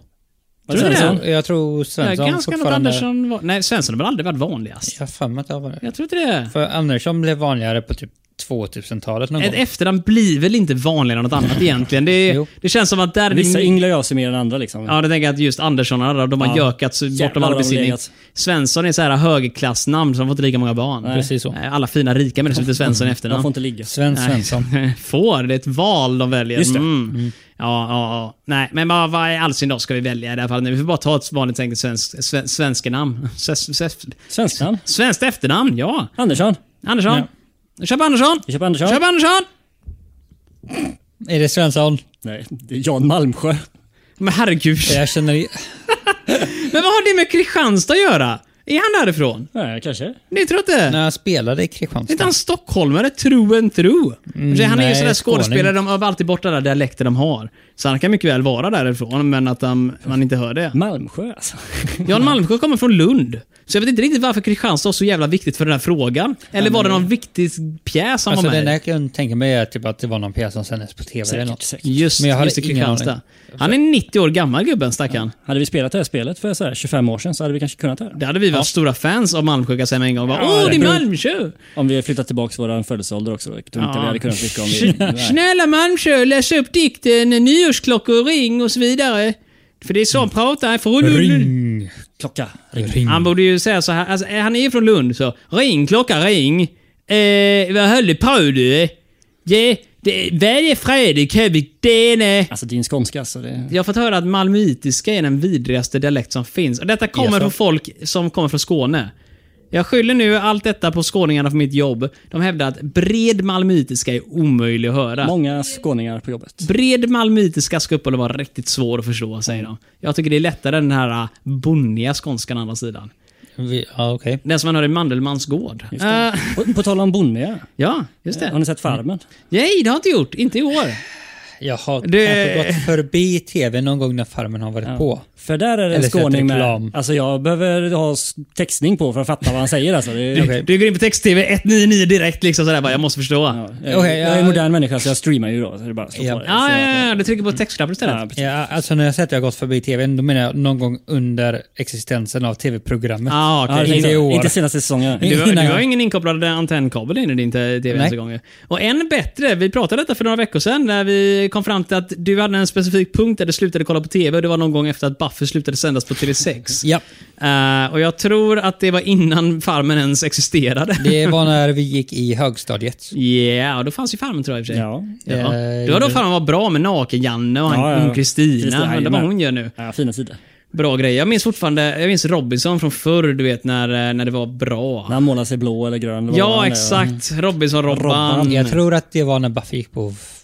[SPEAKER 2] Var
[SPEAKER 1] Tror du
[SPEAKER 2] Svensson?
[SPEAKER 1] det?
[SPEAKER 4] Jag tror
[SPEAKER 1] Jag är
[SPEAKER 4] Svensson
[SPEAKER 1] ganska något
[SPEAKER 4] fortfarande... Andersson.
[SPEAKER 1] Andersson var... Nej, Svensson har väl aldrig varit vanligast?
[SPEAKER 4] Jag har för mig att det var det.
[SPEAKER 1] Jag tror inte det.
[SPEAKER 4] För Andersson blev vanligare på typ 2000-talet någon
[SPEAKER 1] Ett
[SPEAKER 4] gång.
[SPEAKER 1] efternamn blir väl inte vanligare än något annat egentligen? Det, är-
[SPEAKER 4] Jo.
[SPEAKER 1] det känns som att där... är det
[SPEAKER 2] Vissa
[SPEAKER 1] my-
[SPEAKER 2] ynglar ju av sig mer än andra liksom.
[SPEAKER 1] Mm. Ja, det tänker jag att just Anderssonarna, de har gökats bortom
[SPEAKER 2] Jävlar
[SPEAKER 1] all
[SPEAKER 2] vad de
[SPEAKER 1] besinning.
[SPEAKER 2] legat.
[SPEAKER 1] Svensson är så här högklassnamn, så de får inte lika många barn.
[SPEAKER 4] Precis så.
[SPEAKER 1] Nej, Alla fina rika människor som heter Svensson i
[SPEAKER 2] De
[SPEAKER 1] efternamn.
[SPEAKER 2] Mm. får inte ligga.
[SPEAKER 4] Sven Svensson.
[SPEAKER 1] Nej. Får? Det är ett val de väljer.
[SPEAKER 2] Just det.
[SPEAKER 1] Mm. Ja, ja, ja. Nej, men vad, vad i all sin dag ska vi välja i det här fallet? nu? Vi får bara ta ett vanligt enkelt svensk, sven, svenska namn. Ses- ses-
[SPEAKER 2] Svenskan.
[SPEAKER 1] Svenskt efternamn, ja.
[SPEAKER 2] Andersson.
[SPEAKER 1] Andersson. Köp Andersson.
[SPEAKER 2] Vi köper Andersson.
[SPEAKER 1] Köp Andersson!
[SPEAKER 4] Är det Svensson?
[SPEAKER 2] Nej, det är Jan Malmsjö.
[SPEAKER 1] Men herregud.
[SPEAKER 4] Jag känner... i-
[SPEAKER 1] Men vad har det med Kristianstad att göra? Är han därifrån?
[SPEAKER 2] Nej, kanske.
[SPEAKER 1] Ni tror inte?
[SPEAKER 4] När jag spelade i
[SPEAKER 1] Är inte
[SPEAKER 4] Kristianstad.
[SPEAKER 1] han stockholmare, tro en tro? Så han är ju
[SPEAKER 4] Mm, nej,
[SPEAKER 1] sån där
[SPEAKER 4] skåning.
[SPEAKER 1] skådespelare, de har alltid borta där dialekter de har. Så han kan mycket väl vara därifrån, men att han, man inte hör det.
[SPEAKER 2] Malmsjö alltså.
[SPEAKER 1] Jan Malmsjö kommer från Lund. Så jag vet inte riktigt varför Kristianstad var så jävla viktigt för den här frågan. Eller var det någon viktig pjäs han
[SPEAKER 4] Alltså
[SPEAKER 1] var
[SPEAKER 4] det
[SPEAKER 1] med
[SPEAKER 4] enda
[SPEAKER 1] i?
[SPEAKER 4] jag kan tänka mig är typ att det var någon pjäs som sändes på tv eller
[SPEAKER 2] Säkert,
[SPEAKER 4] något.
[SPEAKER 2] säkert.
[SPEAKER 1] Just,
[SPEAKER 4] Men jag hade
[SPEAKER 1] just i
[SPEAKER 4] ingen
[SPEAKER 1] Kristianstad. Han är 90 år gammal gubben, stackarn.
[SPEAKER 2] Hade vi spelat det här spelet för så här 25 år sedan så hade vi kanske kunnat det här.
[SPEAKER 1] Det hade vi varit stora fans av Malmsjö kan jag säga med en gång. Bara,
[SPEAKER 2] Ja,
[SPEAKER 1] Åh,
[SPEAKER 2] det
[SPEAKER 1] det är
[SPEAKER 2] beror-
[SPEAKER 1] Malmsjö!
[SPEAKER 2] Om vi flyttat tillbaka vår födelseålder också. Jag tror inte vi hade kunnat mycket om vi... Nej.
[SPEAKER 1] Snälla Malmsjö, läs upp dikten Nyårsklockor ring och så vidare. För det är så
[SPEAKER 2] Mm.
[SPEAKER 1] han pratar. För
[SPEAKER 4] Ring!
[SPEAKER 2] Klocka. Ring.
[SPEAKER 4] Ring.
[SPEAKER 1] Han borde ju säga så här. Alltså, eh, han är ju från Lund så. Ring, klocka, ring. Eh, vad höll du på du? Ja, det, varje fredag kan vi dene.
[SPEAKER 2] Alltså din skånska alltså. Det...
[SPEAKER 1] Jag har fått höra att malmöitiska är den vidrigaste dialekt som finns. Och detta kommer
[SPEAKER 4] Jaså?
[SPEAKER 1] från folk som kommer från Skåne. Jag skyller nu allt detta på skåningarna för mitt jobb. De hävdar att bred malmöitiska är omöjlig att höra.
[SPEAKER 2] Många skåningar på jobbet.
[SPEAKER 1] Bred malmöitiska ska uppehålla vara riktigt svår att förstå, säger de. Jag tycker det är lättare än den här äh, bonniga skånskan å andra sidan.
[SPEAKER 4] Vi- Ja, okej.
[SPEAKER 1] Den som man hör i Mandelmans gård. Eh,
[SPEAKER 2] På, på tal om bonniga.
[SPEAKER 1] ja, just
[SPEAKER 2] Har
[SPEAKER 1] det. Mm.
[SPEAKER 2] ni sett Farmen?
[SPEAKER 1] Nej, det har jag inte gjort. Inte i år.
[SPEAKER 4] Jag har
[SPEAKER 1] Det-
[SPEAKER 4] kanske gått förbi tv någon gång när farmen har varit på.
[SPEAKER 2] För där är det en
[SPEAKER 4] Eller sett
[SPEAKER 2] skåning
[SPEAKER 4] reklam.
[SPEAKER 2] med. Alltså jag behöver ha s- textning på för att fatta vad han säger alltså. Det är,
[SPEAKER 4] Okej.
[SPEAKER 1] Du går in på text-tv 199 direkt liksom sådär bara, jag måste förstå.
[SPEAKER 2] ja,
[SPEAKER 1] Ja,
[SPEAKER 2] jag,
[SPEAKER 4] Okej,
[SPEAKER 2] jag är en
[SPEAKER 4] ja.
[SPEAKER 2] modern människa så jag streamar ju då. Så det är bara att slå
[SPEAKER 4] Ja.
[SPEAKER 2] på det. Så
[SPEAKER 1] ja,
[SPEAKER 2] att-
[SPEAKER 1] ja, ja. Du trycker på textknappen istället.
[SPEAKER 2] Ja, precis.
[SPEAKER 4] Ja, alltså när jag säger att jag har gått förbi tv, då menar jag någon gång under existensen av tv-programmet.
[SPEAKER 1] Ah, okej.
[SPEAKER 2] Ja, det
[SPEAKER 4] Inte
[SPEAKER 2] tänkte
[SPEAKER 4] i
[SPEAKER 2] jag.
[SPEAKER 4] år.
[SPEAKER 2] Inte senaste säsongen.
[SPEAKER 1] Du, har-
[SPEAKER 4] Innan
[SPEAKER 1] du har
[SPEAKER 4] jag-
[SPEAKER 1] ingen inkopplad antennkabel in i din te- tv ens
[SPEAKER 4] Nej.
[SPEAKER 1] en gång. ju. Och än bättre, vi pratade detta för några veckor sedan när vi kom fram till att du hade en specifik punkt där du slutade kolla på TV. Och det var någon gång efter att Buffy slutade sändas på TV6.
[SPEAKER 4] Ja,
[SPEAKER 1] Eh, och jag tror att det var innan Farmen ens existerade.
[SPEAKER 4] det var när vi gick i högstadiet.
[SPEAKER 1] Ja, och då fanns ju Farmen tror jag i och för sig.
[SPEAKER 2] Ja.
[SPEAKER 1] Ja.
[SPEAKER 4] Eh,
[SPEAKER 1] Det var då Farmen var bra med Naken-Janne och
[SPEAKER 2] Ja, ja,
[SPEAKER 1] han-
[SPEAKER 2] ja.
[SPEAKER 1] hon Kristina.
[SPEAKER 2] Kristina,
[SPEAKER 1] Ja, det var
[SPEAKER 2] jajamän.
[SPEAKER 1] hon gör nu.
[SPEAKER 2] Ja, fina sidor.
[SPEAKER 1] Bra grej. Jag minns fortfarande, jag minns Robinson från förr, du vet när, eh, när det var bra.
[SPEAKER 2] När han målar sig blå eller grön. eller vad han
[SPEAKER 1] ja,
[SPEAKER 2] är.
[SPEAKER 1] exakt. Robinson-Robban.
[SPEAKER 2] Mm.
[SPEAKER 4] Jag tror att det var när Buffy gick på f-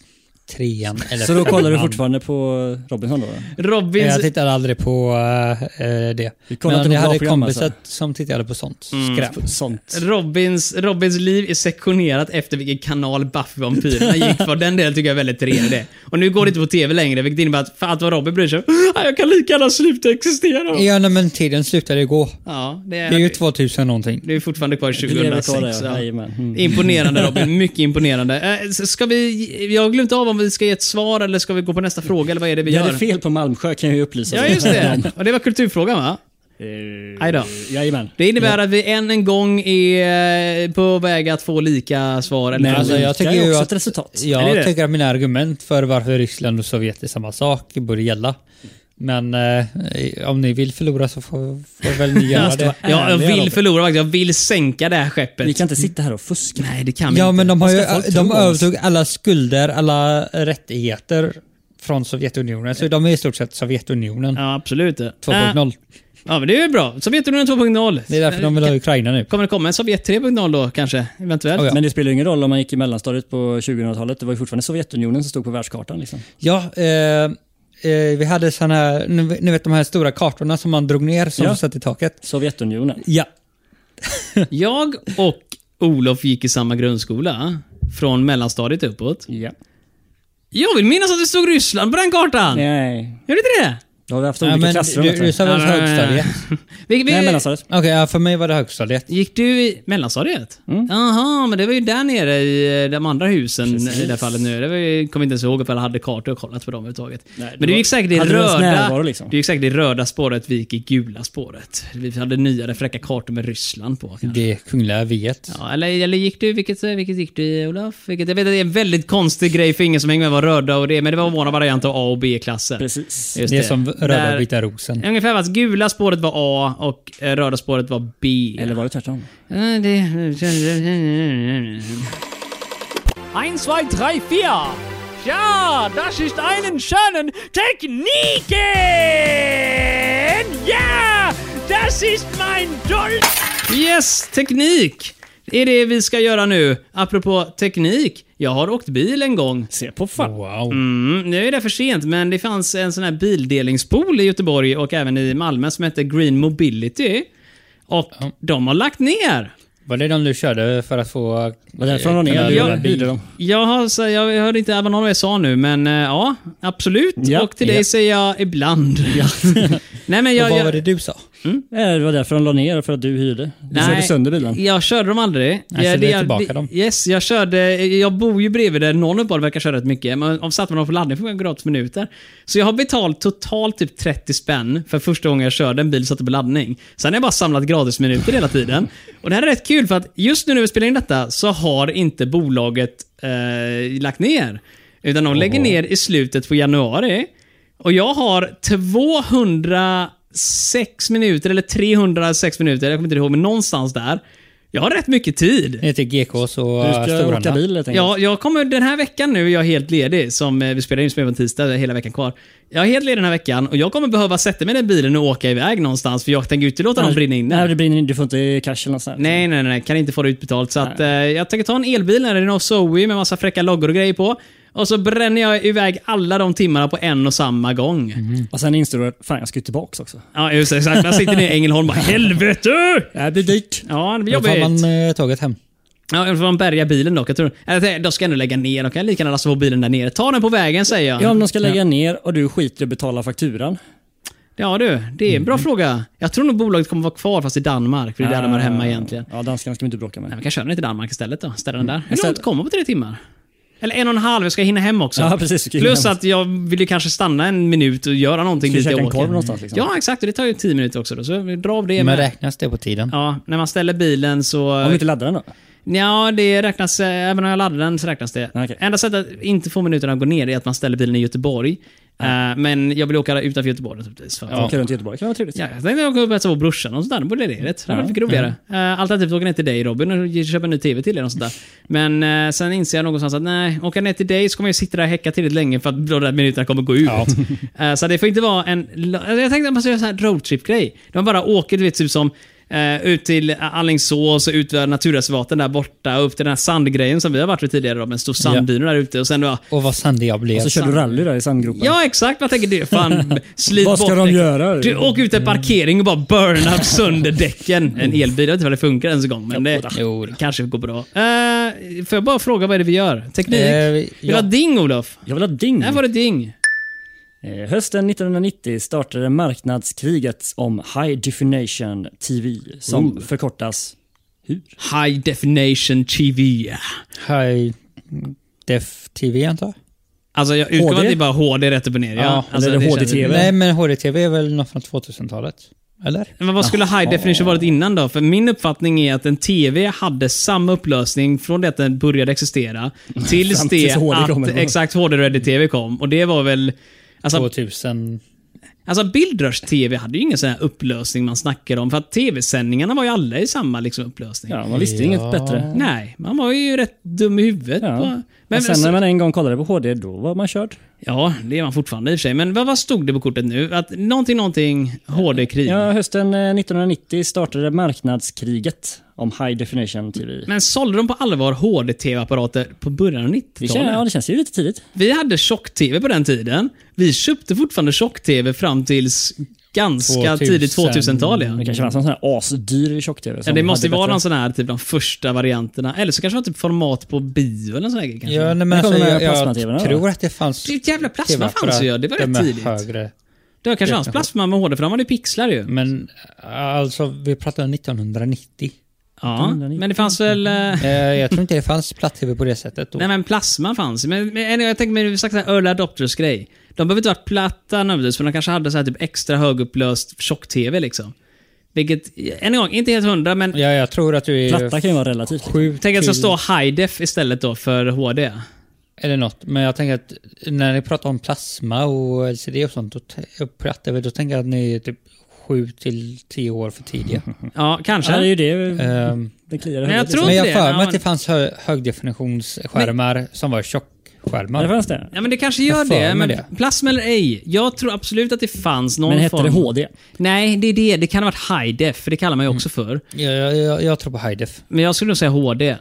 [SPEAKER 4] trean eller
[SPEAKER 2] Mm. Så då kollar du
[SPEAKER 4] femman.
[SPEAKER 2] fortfarande på Robinson då?
[SPEAKER 1] Mm. Robins...
[SPEAKER 4] Jag tittade aldrig på eh, eh, det.
[SPEAKER 2] Vi kollar inte
[SPEAKER 4] Men
[SPEAKER 2] på bra
[SPEAKER 4] jag hade
[SPEAKER 2] program,
[SPEAKER 4] kompisar
[SPEAKER 2] alltså. Mm.
[SPEAKER 4] som tittade på sånt skräp.
[SPEAKER 2] Sånt.
[SPEAKER 1] Robins, Robins liv är sektionerat efter vilken kanal Buffy vampyrerna gick på. Den delen tycker jag är väldigt trevlig. Och nu går det inte på TV längre, vilket innebär att för allt vad Robin bryr sig om, "Ah, jag kan lika gärna sluta existera.
[SPEAKER 4] Ja, nej, men tiden slutade gå.
[SPEAKER 1] Ja, det
[SPEAKER 4] Det är ju
[SPEAKER 1] är,
[SPEAKER 4] 2000 någonting.
[SPEAKER 1] det är fortfarande kvar i
[SPEAKER 2] Vi lever
[SPEAKER 1] 2006.
[SPEAKER 2] kvar där, ja.
[SPEAKER 1] ja.
[SPEAKER 2] Jajamän. Mm.
[SPEAKER 1] Imponerande Robin, mycket imponerande. Eh, s- Ska vi, jag har glömt av om vi ska ge ett svar eller ska vi gå på nästa fråga eller vad är det vi
[SPEAKER 2] Vi
[SPEAKER 1] gör?
[SPEAKER 2] hade fel på Malmsjö kan jag ju upplysa.
[SPEAKER 1] Ja,
[SPEAKER 2] dig
[SPEAKER 1] just det. Och det var kulturfrågan va?
[SPEAKER 2] om.
[SPEAKER 1] Aj då.
[SPEAKER 2] Eh, Jajamän.
[SPEAKER 1] Det innebär att vi än en gång är eh, på väg att få lika svar. Eller
[SPEAKER 2] Men
[SPEAKER 4] Alltså, jag
[SPEAKER 2] lika
[SPEAKER 4] tycker
[SPEAKER 2] är
[SPEAKER 4] ju
[SPEAKER 2] också
[SPEAKER 4] att-
[SPEAKER 2] ett resultat.
[SPEAKER 1] Är det det?
[SPEAKER 4] Jag tycker att mina argument för varför Ryssland och Sovjet är samma sak borde gälla. Men eh, om ni vill förlora så får, får väl ni göra det.
[SPEAKER 1] Ja, jag
[SPEAKER 2] Ärliga,
[SPEAKER 1] vill
[SPEAKER 2] Robert.
[SPEAKER 1] förlora faktiskt. Jag vill sänka det här skeppet.
[SPEAKER 2] Vi kan inte sitta här och fuska.
[SPEAKER 1] Nej, det kan vi
[SPEAKER 4] Ja,
[SPEAKER 1] inte.
[SPEAKER 4] men de, har
[SPEAKER 2] Vad
[SPEAKER 4] ju,
[SPEAKER 2] ska folk tro om
[SPEAKER 4] de
[SPEAKER 2] oss?
[SPEAKER 4] övertog alla skulder, alla rättigheter från Sovjetunionen. Så de är i stort sett Sovjetunionen
[SPEAKER 1] Ja, absolut. Eh,
[SPEAKER 4] 2.0.
[SPEAKER 1] ja, men det är ju bra. Sovjetunionen 2.0.
[SPEAKER 4] Det är därför de vill ha Ukraina nu.
[SPEAKER 1] Eh, Kommer det komma en Sovjet 3.0 då, kanske? Eventuellt?
[SPEAKER 4] Oh, ja.
[SPEAKER 2] Men det spelar ju ingen roll om man gick i mellanstadiet på 2000-talet. Det var ju fortfarande Sovjetunionen som stod på världskartan. Liksom.
[SPEAKER 4] Ja, eh, eh, vi hade sådana här, ni ni vet de här stora kartorna som man drog ner som
[SPEAKER 2] Ja.
[SPEAKER 4] satt i taket.
[SPEAKER 2] Sovjetunionen.
[SPEAKER 4] Ja.
[SPEAKER 1] Jag och Olof gick i samma grundskola. Från mellanstadiet uppåt.
[SPEAKER 2] Ja.
[SPEAKER 1] Jag vill minnas att det stod Ryssland på den kartan! Gör
[SPEAKER 2] Nej.
[SPEAKER 1] det inte det?
[SPEAKER 2] Då har vi haft
[SPEAKER 4] ja
[SPEAKER 2] olika
[SPEAKER 4] men
[SPEAKER 2] klassrum. alltså. vet
[SPEAKER 4] du,
[SPEAKER 2] du.
[SPEAKER 4] du sa väl
[SPEAKER 1] Ja, ja, ja, ja.
[SPEAKER 4] högstadiet?
[SPEAKER 1] Vi, vi,
[SPEAKER 2] Nej, alltså, mellanstadiet.
[SPEAKER 4] Okej, ja, för mig var det högstadiet.
[SPEAKER 1] Gick du i mellanstadiet?
[SPEAKER 2] Mm.
[SPEAKER 1] Jaha, men det var ju där nere i eh, de andra husen i det här fallet nu. Det var ju, kommer inte ens ihåg ifall jag hade kartor och kollat på dem överhuvudtaget.
[SPEAKER 2] Nej, det
[SPEAKER 1] men du
[SPEAKER 2] var-
[SPEAKER 1] gick, säkert i
[SPEAKER 2] hade du ens
[SPEAKER 1] röda,
[SPEAKER 2] närvaro, liksom?
[SPEAKER 1] du gick säkert i röda spåret, vi gick i gula spåret. Vi hade nyare fräcka kartor med Ryssland på. kanske.
[SPEAKER 4] Det kungliga viet.
[SPEAKER 1] Ja, eller, eller gick du, vilket, vilket gick du i Olof? Vilket, jag vet att det är en väldigt konstig grej för ingen som hänger med var röda och det, men det var vår variant av A och B-klasser.
[SPEAKER 2] Precis.
[SPEAKER 1] Just
[SPEAKER 4] det är som röda
[SPEAKER 1] Där-
[SPEAKER 4] och vita rosen.
[SPEAKER 1] Ungefär att gula spåret var A och eh, röda spåret var B.
[SPEAKER 2] Eller var det tvärtom?
[SPEAKER 1] Ja, det...
[SPEAKER 7] Eins, zwei, drei, vier. Ja, das ist einen schönen Techniken. Ja, das ist mein Dolch.
[SPEAKER 1] Yes! Teknik! Det är det vi ska göra nu. Apropå teknik. Jag har åkt bil en gång.
[SPEAKER 2] Se på fan.
[SPEAKER 4] Wow.
[SPEAKER 1] Mm, nu är det för sent, men det fanns en sån här bildelningspool i Göteborg och även i Malmö som hette Green Mobility. Och de har lagt ner.
[SPEAKER 4] Var det de du körde för att få... eh,
[SPEAKER 2] Var det därifrån de
[SPEAKER 4] kunna
[SPEAKER 2] ner?
[SPEAKER 4] rulla
[SPEAKER 2] Ja,
[SPEAKER 4] bil?
[SPEAKER 2] bil.
[SPEAKER 1] Jag, har, så jag hörde inte vad någon sa nu, men eh, ja, absolut.
[SPEAKER 2] Ja,
[SPEAKER 1] och till dig
[SPEAKER 2] ja.
[SPEAKER 1] säger jag ibland. Nej, men jag,
[SPEAKER 4] Och vad
[SPEAKER 1] jag,
[SPEAKER 4] var det du sa?
[SPEAKER 2] Eh, Det var därför de la ner, för att du hyrde. Du
[SPEAKER 1] Nej.
[SPEAKER 2] körde sönder bilen.
[SPEAKER 1] Jag körde dem aldrig.
[SPEAKER 4] Nej, så
[SPEAKER 1] jag,
[SPEAKER 4] du är
[SPEAKER 1] jag-
[SPEAKER 4] tillbaka
[SPEAKER 1] det-
[SPEAKER 4] dem.
[SPEAKER 1] Yes, jag körde... Jag bor ju bredvid där någon uppehåll verkar köra rätt mycket. Men om satt man dem på laddning får man gratis minuter. Så jag har betalt totalt typ 30 spänn för första gången jag körde en bil och satte på laddning. Sen har jag bara samlat gratis minuter hela tiden. Och det här är rätt kul för att just nu när vi spelar in detta så har inte bolaget eh, lagt ner. Utan de lägger ner i slutet på januari. Och jag har 206 minuter, eller 306 minuter, jag kommer inte ihåg, men någonstans där. Jag har rätt mycket tid.
[SPEAKER 4] Ner till GKs och
[SPEAKER 2] Du ska åka
[SPEAKER 4] Storarna.
[SPEAKER 2] bil helt enkelt.
[SPEAKER 1] Ja, jag kommer, den här veckan nu är jag helt ledig, som eh, vi spelar in som är på en tisdag, det är hela veckan kvar. Jag är helt ledig den här veckan och jag kommer behöva sätta mig i den bilen och åka iväg någonstans för jag tänker ju inte låta dem brinna inne.
[SPEAKER 2] Nej, det brinner in. Du får inte cash eller något sånt.
[SPEAKER 1] Nej, nej, nej. Kan inte få det utbetalt. Så att, eh, jag tänker ta en elbil när det är någon Zoe med massa fräcka loggor och grejer på. Och så bränner jag iväg alla de timmarna på en och samma gång.
[SPEAKER 2] Och sen insåg du att fan, jag ska ju tillbaka också.
[SPEAKER 1] Ja, just det. Exakt. Jag sitter nere i Ängelholm och bara helvete!
[SPEAKER 2] Det blir dyrt.
[SPEAKER 1] Ja, det blir
[SPEAKER 4] Då tar
[SPEAKER 1] jobbigt.
[SPEAKER 4] man eh, tåget hem.
[SPEAKER 1] Ja, då får man bärga bilen dock. Jag tror, eller, de ska ändå lägga ner. De kan lika gärna lasta på bilen där nere. Ta den på vägen säger jag.
[SPEAKER 2] Ja,
[SPEAKER 1] Ja,
[SPEAKER 2] om de ska lägga ner och du skiter i att betala fakturan.
[SPEAKER 1] du, det är en bra
[SPEAKER 2] Mm.
[SPEAKER 1] fråga. Jag tror nog bolaget kommer vara kvar fast i Danmark. För det är där de är
[SPEAKER 2] Ah.
[SPEAKER 1] hemma egentligen.
[SPEAKER 2] Ja, danskarna ska vi inte bråka med.
[SPEAKER 1] Nej, vi kan köra den till Danmark istället då. Ställa den
[SPEAKER 2] Mm.
[SPEAKER 1] där. Hur långt kommer på tre timmar? Eller en och en halv, jag ska hinna hem också.
[SPEAKER 2] Ja, precis, du ska hinna
[SPEAKER 1] Plus
[SPEAKER 2] hem.
[SPEAKER 1] att jag vill ju kanske stanna en minut och göra någonting
[SPEAKER 2] Ska vi
[SPEAKER 1] dit jag
[SPEAKER 2] käka
[SPEAKER 1] åker.
[SPEAKER 2] en korv någonstans, liksom?
[SPEAKER 1] Ja, exakt. Och det tar ju tio minuter också. Då, så vi drar av det
[SPEAKER 4] Men
[SPEAKER 1] med.
[SPEAKER 4] räknas det på tiden?
[SPEAKER 1] Ja, när man ställer bilen så...
[SPEAKER 2] Om vi inte laddar den då?
[SPEAKER 1] Ja, det räknas, eh, även om jag laddar den så räknas det.
[SPEAKER 2] Okej.
[SPEAKER 1] Enda sättet att inte få minuterna att gå ner är att man ställer bilen i Göteborg. Eh, men jag vill åka utanför Göteborg naturligtvis. För att
[SPEAKER 2] Åka runt i Göteborg, det kan vara trevligt.
[SPEAKER 1] Ja, jag tänkte åka upp och hälsa på brorsan och sådär. Då borde det bli rätt. Det
[SPEAKER 2] Mm.
[SPEAKER 1] hade varit mycket roligare. Eh, Alternativt åka ner till dig Robin och ge- köpa en ny TV till dig och sådär. Men eh, sen inser jag någonstans att nej, åka ner till dig så kommer jag sitta där och häcka tillräckligt länge för att de där minuterna kommer gå ut. Eh, så det får inte vara en... la- Jag tänkte att man skulle göra en sån här roadtrip-grej. De bara åker, du vet, typ som eh, ut till Allingsås och ut över naturreservaten där borta. Upp till den här sandgrejen som vi har varit vid tidigare Robin. En stor sanddyna där ute. Och sen då,
[SPEAKER 4] Och vad sandig jag blev.
[SPEAKER 2] Och så kör du rally där i sandgropen.
[SPEAKER 1] Ja, exakt. Man tänker det. Fan, slit
[SPEAKER 2] Vad ska
[SPEAKER 1] bort liksom.
[SPEAKER 2] de
[SPEAKER 1] däcken.
[SPEAKER 2] göra?
[SPEAKER 1] Du, åk ut till en parkering och bara burna sönder däcken. En elbil, jag vet inte om det funkar ens en gång, men det
[SPEAKER 4] Jo då.
[SPEAKER 1] kanske går bra. Uh, får jag bara fråga vad är det vi gör? Teknik?
[SPEAKER 4] Eh,
[SPEAKER 1] Vill du
[SPEAKER 4] ja.
[SPEAKER 1] ha ding, Olof?
[SPEAKER 2] Jag vill ha ding.
[SPEAKER 1] Här var det ding.
[SPEAKER 2] Eh, Hösten 1990 startade marknadskriget om High Definition TV som förkortas
[SPEAKER 1] High definition TV.
[SPEAKER 4] High Def TV antar jag?
[SPEAKER 1] Alltså jag utgår
[SPEAKER 2] HD?
[SPEAKER 1] från att det är bara HD rätt upp och ner. Ja,
[SPEAKER 2] Ja,
[SPEAKER 1] alltså,
[SPEAKER 2] eller
[SPEAKER 1] det
[SPEAKER 2] HD TV.
[SPEAKER 1] känns-
[SPEAKER 4] Nej men HD-TV är väl något från 2000-talet? Eller?
[SPEAKER 1] Men vad skulle high definition varit innan då? För min uppfattning är att en TV hade samma upplösning från det att den började existera tills
[SPEAKER 2] Fram
[SPEAKER 1] det
[SPEAKER 2] tills HD
[SPEAKER 1] att
[SPEAKER 2] kom, eller vad?
[SPEAKER 1] exakt HD-ready-TV kom. Och det var väl... Alltså,
[SPEAKER 4] 2000?
[SPEAKER 1] Alltså bildrörs-tv hade ju ingen sån här upplösning man snackade om. För att tv-sändningarna var ju alla i samma liksom, upplösning.
[SPEAKER 2] Ja, man visste ju inget bättre.
[SPEAKER 1] Nej, man var ju rätt dum i huvudet.
[SPEAKER 2] Ja.
[SPEAKER 1] Bara.
[SPEAKER 2] Men
[SPEAKER 1] Men,
[SPEAKER 2] sen när man en gång kollade på HD, då var man körd.
[SPEAKER 1] Ja, det är man fortfarande i och för sig. Men vad, vad stod det på kortet nu? Att någonting, någonting HD-krig.
[SPEAKER 2] Ja, hösten eh, 1990 startade marknadskriget om High Definition TV.
[SPEAKER 1] Men sålde de på allvar HD-tv-apparater på början av
[SPEAKER 2] Det känns,
[SPEAKER 1] 90-talet?
[SPEAKER 2] ja, det känns ju lite tidigt.
[SPEAKER 1] Vi hade tjock-tv på den tiden. Vi köpte fortfarande tjock-tv fram tills ganska
[SPEAKER 4] 2000.
[SPEAKER 1] tidigt 2000-tal. Ja.
[SPEAKER 2] Det kanske fanns någon sån här asdyr tjock-tv.
[SPEAKER 1] Ja,
[SPEAKER 2] som
[SPEAKER 1] det måste ju
[SPEAKER 2] hade
[SPEAKER 1] vara
[SPEAKER 2] bättre-
[SPEAKER 1] någon sån här, typ de första varianterna. Eller så kanske det var typ format på bio eller nån sån här grej, kanske.
[SPEAKER 4] Ja, nej, men
[SPEAKER 2] När kom
[SPEAKER 4] alltså,
[SPEAKER 2] de här
[SPEAKER 4] jag,
[SPEAKER 2] plasma-TV:na
[SPEAKER 4] jag
[SPEAKER 2] då?
[SPEAKER 4] tror att det fanns...
[SPEAKER 1] Det jävla plasma
[SPEAKER 4] TV-apparater
[SPEAKER 1] fanns ju, ja. det var rätt
[SPEAKER 4] med
[SPEAKER 1] tidigt.
[SPEAKER 4] Högre.
[SPEAKER 1] Det var kanske hans plasma med HD, för de hade ju pixlar
[SPEAKER 2] Mm.
[SPEAKER 1] ju.
[SPEAKER 4] Men alltså, vi pratar 1990.
[SPEAKER 1] Ja,
[SPEAKER 2] Mm,
[SPEAKER 1] men det fanns väl... eh,
[SPEAKER 4] Eh, jag tror inte det fanns platt-tv på det sättet då.
[SPEAKER 1] Nej men plasma fanns men, men jag tänker mig sagt så här early adopters grej. De behöver inte vara platta nödvändigtvis, för de kanske hade så här typ extra högupplöst tjock-tv liksom. Vilket, än en gång, inte helt hundra, men
[SPEAKER 4] Ja, jag tror att du är...
[SPEAKER 2] Platta kan ju vara relativt.
[SPEAKER 4] Sju
[SPEAKER 1] tänk att det
[SPEAKER 4] till-
[SPEAKER 1] ska stå high def istället då för HD.
[SPEAKER 4] Eller något. Men jag tänker att när ni pratar om plasma och LCD och sånt, då, t- och platt-tv, då tänker jag att ni är typ 7 till 10 år för tidiga.
[SPEAKER 1] Ja, kanske.
[SPEAKER 2] Ja, det är ju det.
[SPEAKER 1] Eh.
[SPEAKER 4] Ehm,
[SPEAKER 2] Det kliar i
[SPEAKER 1] Men jag
[SPEAKER 2] huvudet,
[SPEAKER 1] tror-
[SPEAKER 2] liksom.
[SPEAKER 4] men jag
[SPEAKER 1] det,
[SPEAKER 4] har för
[SPEAKER 1] ja,
[SPEAKER 4] mig att
[SPEAKER 1] men-
[SPEAKER 4] det fanns hö- högdefinitionsskärmar som var
[SPEAKER 2] Ja, det
[SPEAKER 4] tjockskärmar.
[SPEAKER 2] fanns det.
[SPEAKER 1] Ja men det kanske gör
[SPEAKER 4] Jag får
[SPEAKER 1] det,
[SPEAKER 4] mig
[SPEAKER 1] men
[SPEAKER 4] det.
[SPEAKER 1] plasma eller ej. Jag tror absolut att det fanns någon
[SPEAKER 2] Men hette
[SPEAKER 1] form...
[SPEAKER 2] det HD?
[SPEAKER 1] Nej, det är det. Det kan ha varit high def, för det kallar man ju också för.
[SPEAKER 4] Jag, jag, jag, jag tror på high-def.
[SPEAKER 1] Men jag skulle nog säga HD.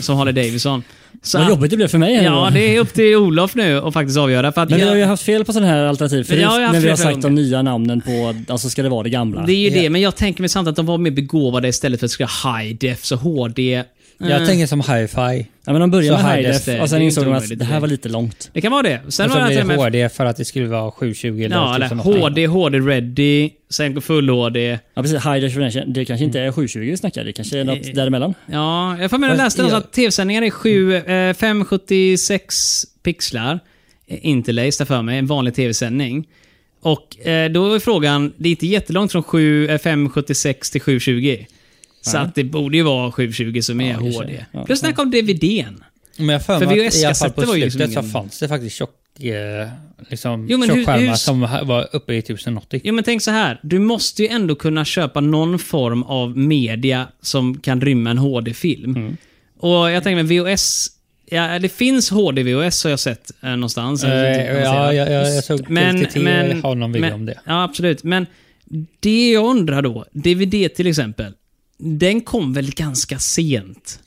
[SPEAKER 1] Som Harley Davidson. Så
[SPEAKER 2] Vad
[SPEAKER 1] att-
[SPEAKER 2] jobbigt det blev för mig. här
[SPEAKER 1] Ja,
[SPEAKER 2] nu.
[SPEAKER 1] det är upp till Olof nu att faktiskt avgöra. För att
[SPEAKER 2] Men vi
[SPEAKER 1] jag,
[SPEAKER 2] har ju haft fel på sådana här alternativ förut.
[SPEAKER 1] Ja, jag har haft
[SPEAKER 2] när vi har
[SPEAKER 1] flera
[SPEAKER 2] sagt de
[SPEAKER 1] gånger.
[SPEAKER 2] nya namnen på, alltså ska det vara det gamla.
[SPEAKER 1] det är ju det, men jag tänker mig samtidigt att de var mer begåvade istället för att skriva high def, så HD... eh,
[SPEAKER 4] Jag tänker som hi-fi.
[SPEAKER 2] Ja, men de började
[SPEAKER 4] Så
[SPEAKER 2] med
[SPEAKER 4] high
[SPEAKER 2] high
[SPEAKER 1] def,
[SPEAKER 2] def och
[SPEAKER 1] det är
[SPEAKER 2] sen
[SPEAKER 1] ju
[SPEAKER 2] insåg
[SPEAKER 1] inte
[SPEAKER 2] de
[SPEAKER 1] omöjligt
[SPEAKER 2] att det här
[SPEAKER 1] direkt.
[SPEAKER 2] var lite långt.
[SPEAKER 1] Det kan vara det. Sen
[SPEAKER 4] Och så
[SPEAKER 1] var
[SPEAKER 4] blir
[SPEAKER 1] det med,
[SPEAKER 4] det HD för att det skulle vara 720 eller
[SPEAKER 1] Ja, eller E
[SPEAKER 4] 1080.
[SPEAKER 1] HD, HD ready, sen full HD.
[SPEAKER 2] Ja precis, high definition. Det kanske inte är 720 vi snackar, det kanske är något däremellan.
[SPEAKER 1] Ja, jag får med att jag
[SPEAKER 4] Fast
[SPEAKER 1] läste något
[SPEAKER 4] jag-
[SPEAKER 1] att tv-sändningar är sju, eh, 576 pixlar. eh, Interlaced där för mig, en vanlig tv-sändning. Och eh, då är frågan, det är inte jättelångt från 7, eh, 576 till 720. Så att det borde ju vara 720 som är HD.
[SPEAKER 2] Ja,
[SPEAKER 1] Plus när kom DVDn?
[SPEAKER 4] Men jag för
[SPEAKER 1] För
[SPEAKER 4] mig att i alla fall
[SPEAKER 1] VHS-kassetter
[SPEAKER 4] på
[SPEAKER 1] var ju
[SPEAKER 4] slutet
[SPEAKER 1] liksom
[SPEAKER 4] så
[SPEAKER 1] ingen-
[SPEAKER 4] fanns det faktiskt tjock, eh, liksom,
[SPEAKER 1] Jo, men hur-
[SPEAKER 4] tjockskärmar
[SPEAKER 1] hur-
[SPEAKER 4] som ha- var uppe i 1080.
[SPEAKER 1] Jo men tänk så här, du måste ju ändå kunna köpa någon form av media som kan rymma en HD-film.
[SPEAKER 4] Mm.
[SPEAKER 1] Och jag tänker mig VHS, ja, det finns HD-VHS har jag sett eh, någonstans.
[SPEAKER 4] Eh,
[SPEAKER 1] Jag vet inte vad man säger.
[SPEAKER 4] ja, jag, jag, jag såg
[SPEAKER 1] Men,
[SPEAKER 4] TTT
[SPEAKER 1] men,
[SPEAKER 4] har någon video
[SPEAKER 1] men,
[SPEAKER 4] om det.
[SPEAKER 1] Ja, absolut. Men det jag undrar då, DVD till exempel, den kom väl ganska sent?